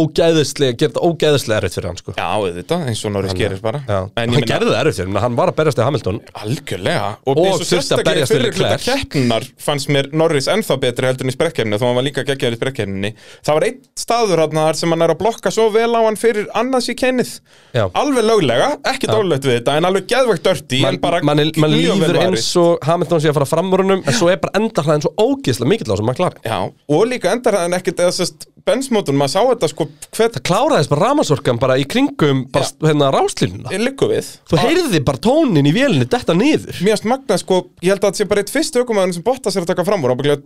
B: ógæðislega gert það ógæðislega erfitt fyrir hann sko
C: Já, auðvitað, eins og Norris gerir bara
B: Já.
C: En
B: Hann
C: ég meina
B: gerði það erfitt fyrir hann, hann var að berjast í Hamilton
C: algjörlega Og,
B: Og
C: eins og
B: þurfti að
C: sérstaklega
B: berjast við
C: fyrir hluta
B: Leclerc.
C: keppnar fannst mér Norris ennþá betri heldur en í sprekkefni þó hann var líka geggjaður í sprekkefni Það var einn staður hann þar sem hann er að blokka svo vel á hann fyrir annars í kennið
B: Já.
C: Alveg löglega, ekki dólögt við þetta en alveg geðvægt dörti
B: Man,
C: en bara
B: man, man
C: mjög vel
B: lífur
C: varið.
B: eins og Hamilton sé að fara fram úr honum en svo er bara endarhraðin svo ógæðislega mikill á sem maður klari
C: Já, og líka endarhæðin ekkert eða sérst bensmótun, maður sá þetta sko hvert
B: Það kláraðist bara ramasorkan bara í kringum bara, hérna, ráslínuna
C: liggur við
B: Þú heyrði bara tónin í vélinni detta niður
C: Mér finnst magnað sko, ég held að þetta sé bara eitt fyrst aukumæðurinn sem Bottas er að taka fram úr ábygglega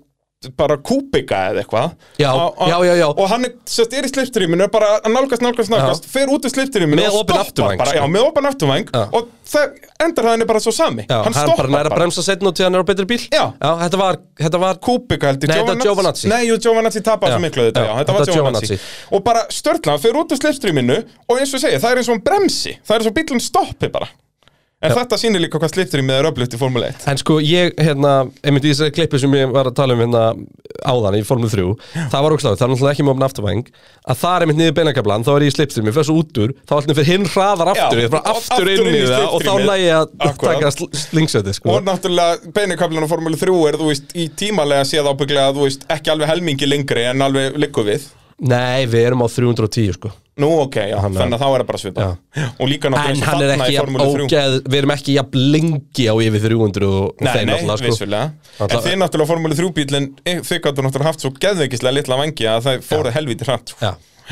C: bara kúbika eða eitthvað
B: Já,
C: Á- á-
B: já, já, já.
C: Og hann er, sérst, er í sliptrýminu, bara að nálgast, nálgast, nálgast fer út úr sliptrýminu
B: Með
C: og
B: opinn
C: stoppar
B: afturvæng,
C: bara,
B: sko.
C: Já, með opinn afturvæng
B: Já.
C: og það, endarhæðin er bara svo sami
B: Já, hann,
C: stoppar
B: bara næra að bremsa setn og til hann er á betri bíl
C: Já.
B: þetta var, þetta var
C: Kúbika held ég
B: Nei, þetta var Giovinazzi.
C: Nei, jú, Giovanazzi tapar
B: Já,
C: svo miklu þetta,
B: já,
C: já, þetta var
B: þetta var
C: Giovanazzi Og bara störtla, hann fer út úr slipstreaminu Og eins og segja, það er eins og hann bremsi Það er eins og bílun stoppi bara En þetta sýnir líka hvað slipstreamið er öflugt í Formule 1
B: En sko ég, hérna, einmitt í þessari klippu sem ég var að tala um hérna áðan í Formule 3 Það var ógsláð, það er náttúrulega ekki með opna afturvæng Að það er einmitt niður beinakablan, þá er ég í slipstrimi, fyrir svo út úr Þá allir fyrir hinn hraðar
C: Já,
B: aftur, ég er bara
C: og
B: aftur,
C: aftur
B: inn í
C: inn í
B: það Og þá
C: slipstreamið.
B: næ ég að
C: Akkúrat.
B: taka sl- slingsöti, sko
C: Og náttúrulega beinikablin á Formule 3 er, þú veist, í tímalega séð ábygglega Þú veist, ekki alveg helmingi lengri en alveg liggu við
B: Nei, við erum á 310, sko
C: Nú, ok, já,
B: Hann er-
C: þannig að þá er það bara svipa
B: Já.
C: Og líka náttúrulega
B: En
C: eins og
B: hann er
C: þarna
B: ekki
C: í
B: jafn
C: Formúlu 3.
B: ógeð, við erum ekki jafn lengi á yfir 300 og og
C: Nei,
B: þeim
C: nei,
B: náttúrulega, sko.
C: vissulega En
B: Náttúrulega-
C: þið náttúrulega formúli 3 bílinn eh, Þið gætu náttúrulega haft svo geðveikislega litla vangi að það fóruð helviti hratt sko.
B: Já,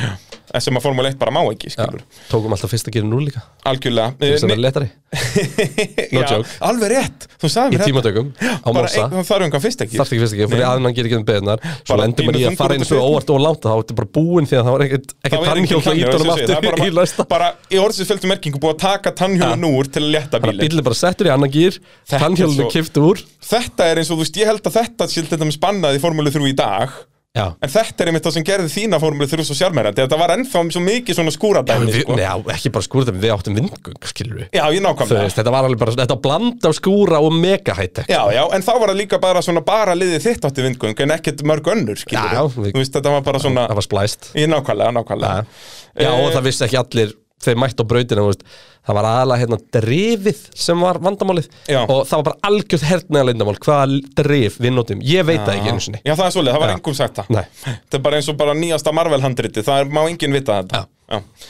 C: En sem að formúli 1 bara má ekki,
B: já,
C: skilur
B: tókum alltaf fyrst að gera núl líka
C: Algjörlega Eh,
B: sem er letari no
C: Já,
B: joke.
C: Alveg rétt, þú sagði
B: í
C: mér þetta
B: tímatökum á
C: Bara
B: Mosa
C: einn, það þarf engan fyrst ekki
B: þarf ekki fyrst ekki, fyrir
C: Nei.
B: aðeins hann gerir ekki um beðunar svo
C: Bara
B: lendur maður í
C: pínu
B: að
C: þungur
B: fara inn
C: út
B: svo
C: af
B: óvart og langt þá er þetta bara búin því að það var ekkert
C: Það
B: ekkert
C: er engin tannhjól,
B: tannhjól að íta honum
C: eins og ég segi,
B: aftur í
C: það er
B: læsta
C: bara, bara í orðsinsfjöldum merkingu búið að taka tannhjólun úr til að létta
B: bara
C: bílinn
B: bílinn bara settur í annan gýr
C: er
B: tannhjólinu
C: svo-
B: kift úr
C: Þetta er eins og þú veist, ég held að þetta sé til dæmis bannað í Formúlu 3 í dag
B: Já,
C: En þetta er einmitt það sem gerði þína formúlu þrjus og sjármærandi Þetta var ennþá svo mikið svona skúradæmi
B: við,
C: sko.
B: Nei, ekki bara skúra þetta, við áttum vindgöng, skilur við
C: Já, ég
B: Þú
C: nákvæmlega
B: veist, þetta var alveg bara, þetta var bland af skúra og mega high-tech
C: Já, já, en þá var það líka bara svona bara liðið þitt átti vindgöng en ekkert mörg önnur, skilur
B: Já, já, við-
C: Þú veist, þetta var bara svona
B: Það var splæst
C: Ég nákvæmlega, nákvæmlega
B: Já, já og það vissi ekki allir þeir mættu á brautina, þú veist, það var aðalega hérna drifið sem var vandamálið
C: Já.
B: og það var bara algjörð hernaða leyndamál hvaða drif við notum, ég veit það ekki einu sinni
C: Já, það er svolítið, það var
B: Já.
C: engum sagt það
B: Nei.
C: Þetta er bara eins og bara nýjasta Marvel-handriti Það er, má enginn vita þetta
B: Já.
C: Já.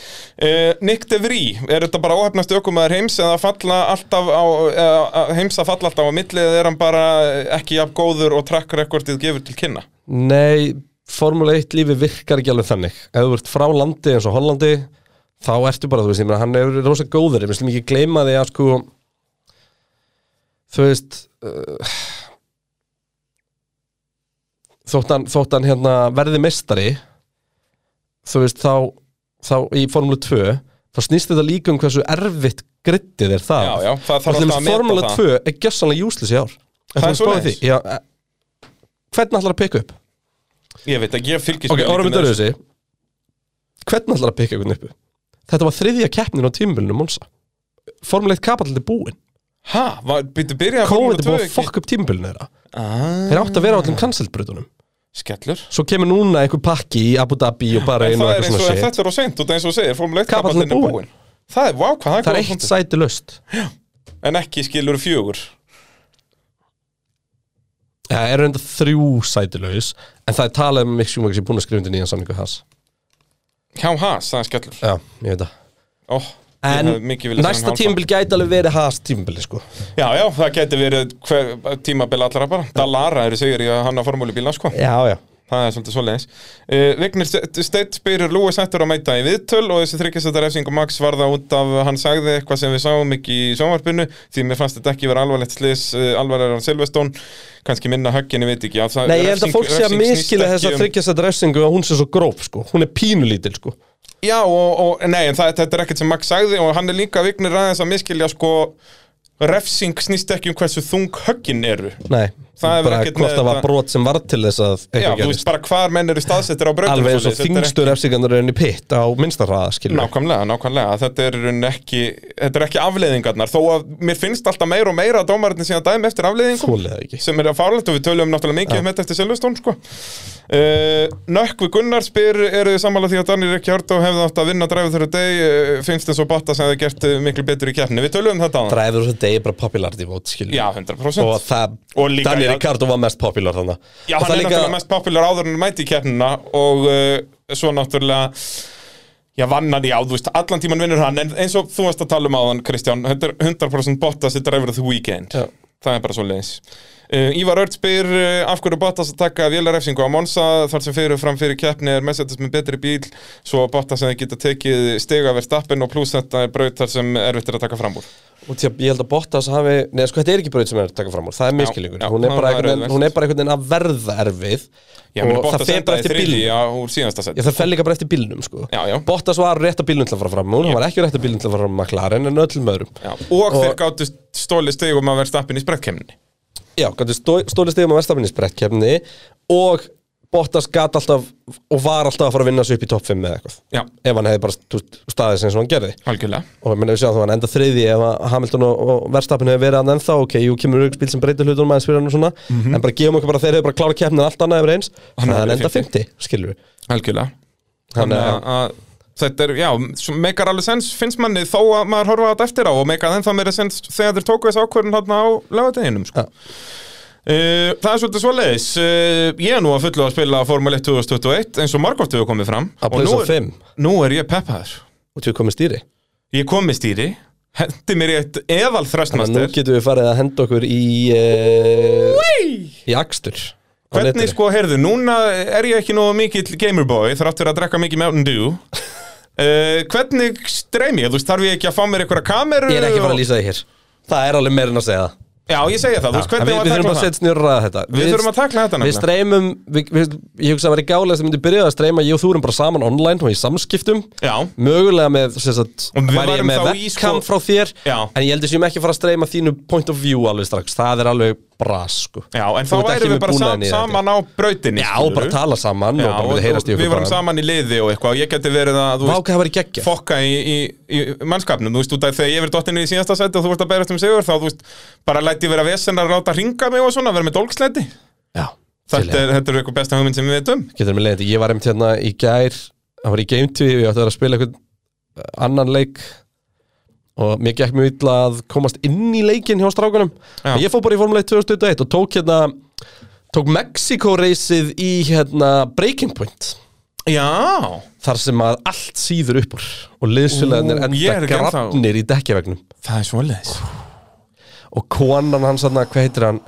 C: Eh, Nick de Vries, er þetta bara óhefnast ökumæður heims eða falla alltaf á, uh, heims að falla alltaf á milli eða er hann bara ekki jafn góður og track recordið gefur til kynna?
B: Nei, Formule 1 lífi virkar ekki alveg þannig ef þú ert frá landi eins og Hollandi þá ertu bara, þú veist, ég meina, hann er rosa góður, ég meina, ekki gleyma því að sko þú veist uh, þótt hann, þótt hann hérna verði mestari þú veist, þá, þá í Formule 2 þá snýst þetta líka um hversu erfitt grittið er það
C: Já, já, það þarf
B: Bara til
C: alltaf að
B: dæmis
C: meta
B: Formule
C: það.
B: 2 er gjössanlega useless í ár Ef
C: Það
B: þú
C: er
B: spáir
C: svoleiðis.
B: því, já, eh, Hvernig ætlar að pikka upp?
C: Ég veit ekki, ég fylgist
B: Ok,
C: með
B: orðum
C: lítið
B: við
C: með
B: dörðu þessi Hvernig ætlar að pikka einhvern uppu? Þetta var þriðja keppnin á tímulinu Monsa Formuleitt kapallandi búin
C: þessu. Ha, var, byrju, byrja
B: COVID er búin að fokka upp tímulinu þeirra
C: ah,
B: Þeir átt að vera á allum cancelbrutunum
C: Skellur
B: Svo kemur núna einhver pakki í Abu Dhabi og bara
C: En
B: einu
C: það er eins og
B: og eitthvað svona shit
C: þetta er á seint og eins og þú segir, Formule 1
B: Kapallinn
C: kapallinn
B: er
C: er
B: búinn.
C: búinn Það er, vá, hvað það er
B: Það er
C: góður
B: eitt
C: punktur.
B: sæti löst
C: En ekki skilur fjögur
B: Það er reynda þrjú sæti laus En það er talað um Mick Schumacher sem er búin að skrifa undir nýjan samningu hans
C: Hjá Haas, það er skellur
B: Já, ég veit það
C: Ó, ég hefði mikið viljað
B: En
C: segja
B: næsta
C: um Hálfa.
B: tímubil gæti alveg verið Haas tímubili sko
C: Já, já, það geti verið hver, tímabil allra bara Dallara eru segir ég að hann á formúlubíla sko
B: Já, já
C: Það er svolítið svoleiðis uh, Vignir Steit spyrir Lúi sættur að mæta í viðtöl og þessi þryggjastættar efsingu Max var það út af hann sagði eitthvað sem við sáum ekki í sjónvarpinu því mér fannst þetta ekki vera alvarlegt slis uh, alvarlegar en Silvestón, kannski minna höggin ég veit ekki að það
B: Nei, ég held að
C: refsing-
B: fólk sé að
C: refsing snýst
B: miskila
C: ekki
B: þessa
C: um-
B: þryggjast að refsingu að hún sé svo gróf sko Hún er pínulítil sko
C: Já, og, og nei, en það, þetta er ekkert sem Max sagði og hann er líka Vignir aðeins að miskilja sko refsing snýst ekki um hversu þung höggin eru
B: Nei,
C: Það hefur
B: bara
C: ekkert
B: hvort
C: með
B: það var
C: þetta-
B: brot sem var til þess að
C: Já,
B: eitthvað
C: þú veist
B: gerist
C: bara hvar menn eru staðsettir á brautum
B: Alveg eins og
C: svoleiðis. Þetta er
B: þingstur efsingarnar er enn í pitt á minnsta hraða,
C: ekki-
B: skilur
C: Nákvæmlega, nákvæmlega, þetta er, í rauninni ekki, þetta er ekki afleiðingarnar Þó að mér finnst alltaf meira og meira að dómarinn síðan dæmi eftir afleiðingum
B: Þólið það ekki
C: Sem er að fárlegt og við töluðum náttúrulega mikið um þetta eftir Silvestón sko. uh, Nökkvi Gunnar spyr eru þið sammála því að Danir ekki hjárt og hefði átt að vinna dræfið þurru deg uh, finnst eins og Botta sem hefði gert uh, miklu betur í keppni Við töluðum þetta á það
B: Dræður þess að degi bara popularity vote, skilur
C: Já, 100%
B: Og það,
C: Og líka-
B: Daniel
C: já.
B: Ricardo var mest popular þannig
C: Já, hann
B: og það
C: er náttúrulega mest popular áður en hann mæti í keppnina og uh, svo náttúrulega Já, vann hann, já, þú veist, allan tíman vinnur hann en eins og þú varst að tala um áðan, Kristján þetta er 100% Bottas í Driver of the Weekend
B: Já.
C: Það er bara svo leiðis uh, Ívar Örd spyr uh, af hverju Bottas að taka vélarefsingu á Monsa þar sem fyrir fram fyrir keppni er Mercedes með betri bíl svo að Bottas sem geta tekið stiga verðstappin og pluss þetta er braut þar sem erfitt er að taka fram úr
B: Og tjá, ég held að Bottas hafi, neða sko þetta er ekki braut sem er að taka fram úr, það er miskilingur
C: já,
B: hún, er
C: það
B: bara
C: var
B: einhvern veginn-
C: erfitt.
B: hún er bara einhvern veginn að verða erfið
C: Já, menn
B: og það
C: Bottas
B: fer bara
C: endaði
B: eftir bílnum
C: þriði á úr síðasta
B: Já,
C: seti
B: það fer líka bara eftir bílnum sko
C: Já, já.
B: Bottas var rétt að bílnum til að fara fram úr, hann var ekki rétt að bílnum til að fara fram úr McLaren en öllum öðrum
C: Já, og, þeir gáttu stóli stigum að verðstappin í sprettkemni
B: Já, gætu stóli stigum að verðstafinni sprettkeppni og Bottas gat alltaf og var alltaf að fara að vinna sig upp í topp 5 eða eitthvað
C: Já,
B: ef hann hefði bara stu- staðið sem hann gerði
C: algjörlega
B: og menn við sjáum þá hann enda þriði ef að Hamilton og, og verðstafinu hefur verið hann ennþá ok, jú kemur auksbíl sem breytir hlutunum aðeins fyrir hann og svona
C: Mhm.
B: en bara gefum okkur bara að þeir hefur bara klára keppnin allt annað yfir eins þannig að
C: hefði
B: hann enda
C: verið
B: 50, skilur við
C: Algjörlega
B: Þannig
C: Þannig að,
B: að-
C: að þetta er, já, svo meikar alveg sens finnst manni þó að maður horfa á þetta eftir á og meikar ennþá meira sens þegar þeir tóku þessu ákvörðin hann á lögadeginum sko.
B: Já.
C: Uh, það er svolítið svoleiðis uh, Ég er nú að fullu að spila Formule 1 2021 eins og margótt hefur komið fram
B: Að
C: Og
B: place
C: nú
B: of
C: er-
B: fimm.
C: Nú er ég peppaður
B: og tjóð komið stýri
C: Ég kom með stýri, hendi mér í eitt eðal
B: þannig að nú
C: þröstmaster
B: getum við farið að henda okkur í uh, í akstur á
C: Hvernig
B: netinu.
C: sko, heyrðu, núna er ég ekki nógu mikill gamerboy þrátt fyrir að drekka mikið Mountain Dew Uh, hvernig streymi ég? Þú veist, þarf ég ekki að fá mér einhverja kameru?
B: ég er ekki að fara að
C: og-
B: lýsa því hér það er alveg meira en að segja það
C: Já, ég segja það, þú veist,
B: En
C: hvernig
B: við,
C: var að
B: við
C: takla
B: þurfum bara að
C: það?
B: setja niður að ræða þetta
C: Við þurfum að takla þetta
B: Við
C: nefnilega.
B: streymum, við, við, ég hugsa að vera gálega sem myndi byrja að streyma ég og þú erum bara saman online og í samskiptum
C: Já.
B: Mögulega með, sem sagt,
C: Og við
B: væri ég
C: værum
B: með
C: þá í
B: webcam
C: sko-
B: frá þér
C: Já.
B: En ég heldur sem ekki að fara að streyma þínu point of view alveg strax Það er alveg bras sko.
C: Já, en þá
B: Þú ert ekki
C: værum við
B: með
C: bara sam,
B: búnaðinn í þetta.
C: saman á brautinni
B: Já,
C: skilurðu.
B: bara tala saman
C: Já,
B: og bara við heyrast í
C: við
B: okkur
C: vorum saman í liði og eitthvað og ég geti verið að, þú
B: Vá, hvað það væri geggjað.
C: fokka í, í, í mannskapnum, þú veist, út af þegar ég verið dottinu í síðasta seti og þú veist að berast um sigur þá, þú veist, bara læti ég vera vesen að ráta ringa mig og svona, vera með dólksleiti
B: Já, til
C: Þetta
B: ég.
C: er, þetta er eitthvað besta hugmynd sem við veitum
B: Getur með leiðandi, ég var einmitt hérna í gær Það var í Game 2, ég átti að vera að spila einhvern eh, annan leik og mér gekk mjög illa að komast inn í leikinn hjá strákunum
C: Já.
B: En ég fór bara í Formule 1 2021 og tók hérna tók Mexiko-reysið í hérna Breaking Point
C: Já,
B: þar sem að allt síður upp úr og liðsfélagarnir
C: Ú, ég er
B: enda
C: ekki ennþá-
B: grafnir í dekkjavegnum
C: það er svoleiðis
B: og konan hans hann, hvað heitir hann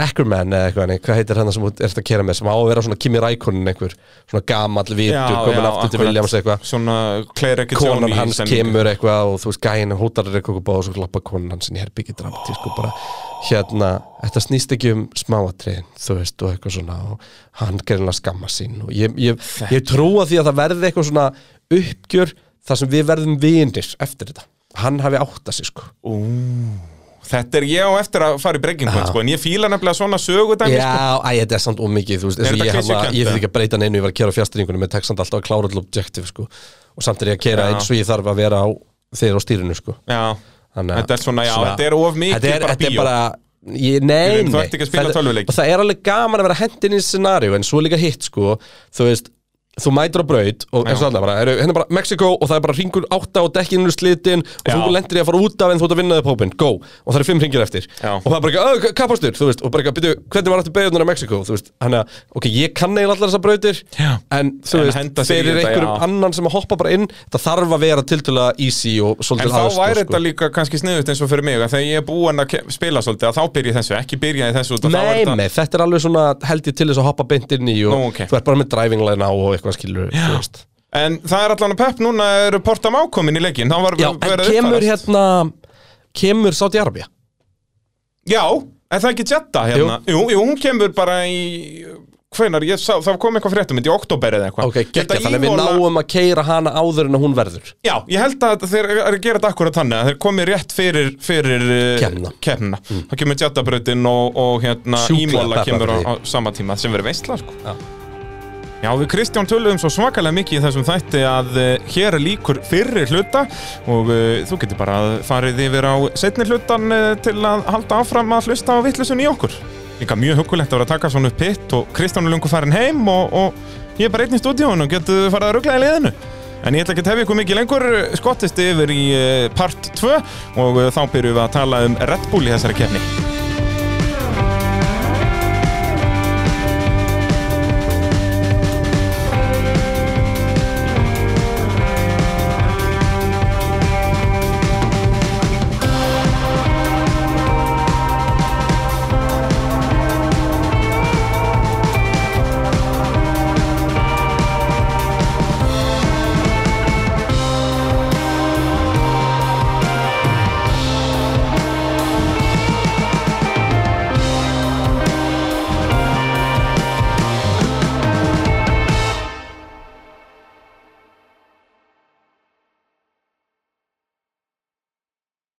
B: Ackerman eða eitthvað, nei, hvað heitir hann sem þú ert að kera með sem á að vera svona Kimi Rækonin einhver, svona gamall vitur, komin aftur til
C: akkurat.
B: Williams eitthvað
C: Svona Claire ekki
B: konan hans kemur eitthvað og þú veist gæin hótar er eitthvað báð og svo lappa konan hans inn í herbyggi dramatísk og bara hérna þetta snýst ekki um smáatriðin þú veist og eitthvað svona og hann gerðin að skamma sín og ég, ég, ég trúa því að það verði eitthvað svona uppgjör þar sem við verðum vinir eftir þetta, hann hafi átt að sig sko
C: Þetta er ég á eftir að fara í breaking point sko, En ég fíla nefnilega svona sögudæmi sko.
B: Já, æ, þetta er samt ómikið, þú veist, eins
C: Er
B: og
C: þetta
B: ég hafa,
C: klisjukennt,
B: ég þurfi
C: eða?
B: ekki að breyta neinu, ég var að kera á fjastringunum, ég tek samt alltaf að klára all objective, sko, og samt er ég að kera
C: Já.
B: eins og ég þarf að vera á, þeir á stýrinu, sko.
C: Já,
B: Þannig að-
C: Þetta er svona, já, þetta er of mikið
B: þetta er,
C: bara
B: þetta er
C: bíó.
B: bara, ég, nei,
C: Ég veit,
B: nei.
C: þú ert ekki að spila
B: Þetta-
C: tölvuleiki.
B: Og það er alveg gaman að vera hendin í scenaríu, en svo er líka hitt, sko, þú veist, þú mætir á braut og eins og alltaf bara, eru, hérna er bara Mexiko og það er bara ringur átta og dekkinu er slitin og
C: Já.
B: þú lendir í að fara út af en þú ert að vinna þig hópin, go, og það eru fimm ringir eftir
C: Já.
B: og það er bara eitthvað, "Ö, kappastur, þú veist og bara eitthvað, byrju, hvernig var aftur beigjarnar á Mexiko þú veist, hann að, ok, ég kann eiginlega allar þessar brautir
C: Já.
B: en þú
C: En
B: veist,
C: henda sér í
B: fyrir
C: þetta,
B: einhverjum
C: já.
B: annan sem að hoppa bara inn, það þarf að vera tiltölulega easy og
C: En
B: svolítið
C: þá
B: aðstoð,
C: væri
B: sko.
C: þetta líka kannski sniðut eins og fyrir mig að Þegar ég er búinn að ke- spila svolítið að þá byrja ég þessu Ekki byrja ég þessu út af þá
B: Nei,
C: er þetta-
B: nei, þetta er alveg svona held ég til þess að hoppa beint inn í og
C: Nú, ok.
B: þú ert bara með driving line á og eitthvað skilur Já,
C: En það er allan að pepp núna er Portam ákomin í leikin var,
B: Já
C: verið
B: en kemur
C: uppfærast.
B: hérna kemur Saudi Arabia
C: Já, en það er ekki Jetta hérna Jú, jú, hún kemur bara í Hvenar, ég sá, það kom eitthvað fréttum Í oktober eða eitthvað
B: Ok, gekkja,
C: Þetta
B: þannig að við
C: Ívola-
B: náum að keira hana áður en að hún verður
C: Já, ég held að þeir eru að gera þetta akkurat þannig að þeir komið rétt fyrir, fyrir
B: Keppnina.
C: kemna. Þá kemur Jattabrautin og, og hérna
B: Sjúklega
C: Ímóla kemur á, á
B: pepparbrautin.
C: sama tíma sem verið veistla sko.
B: Já.
C: Já, við Kristján töluðum svo svakalega mikið í þessum þætti að eh, hér líkur fyrri hluta og uh, þú getur bara farið yfir á setni hlutan uh, til að halda áfram að hlusta á vittlusun í okkur. Líka mjög hugulegt að vera að taka svona upp hitt og Kristján er lungu farin heim og, og ég er bara einn í stúdíónu og getur farið að ruggla í liðinu. En ég ætla ekki að tefja ykkur mikið lengur, eh, skottist yfir í eh, part 2 og eh, þá byrjum við að tala um Red Bull í þessari kefni.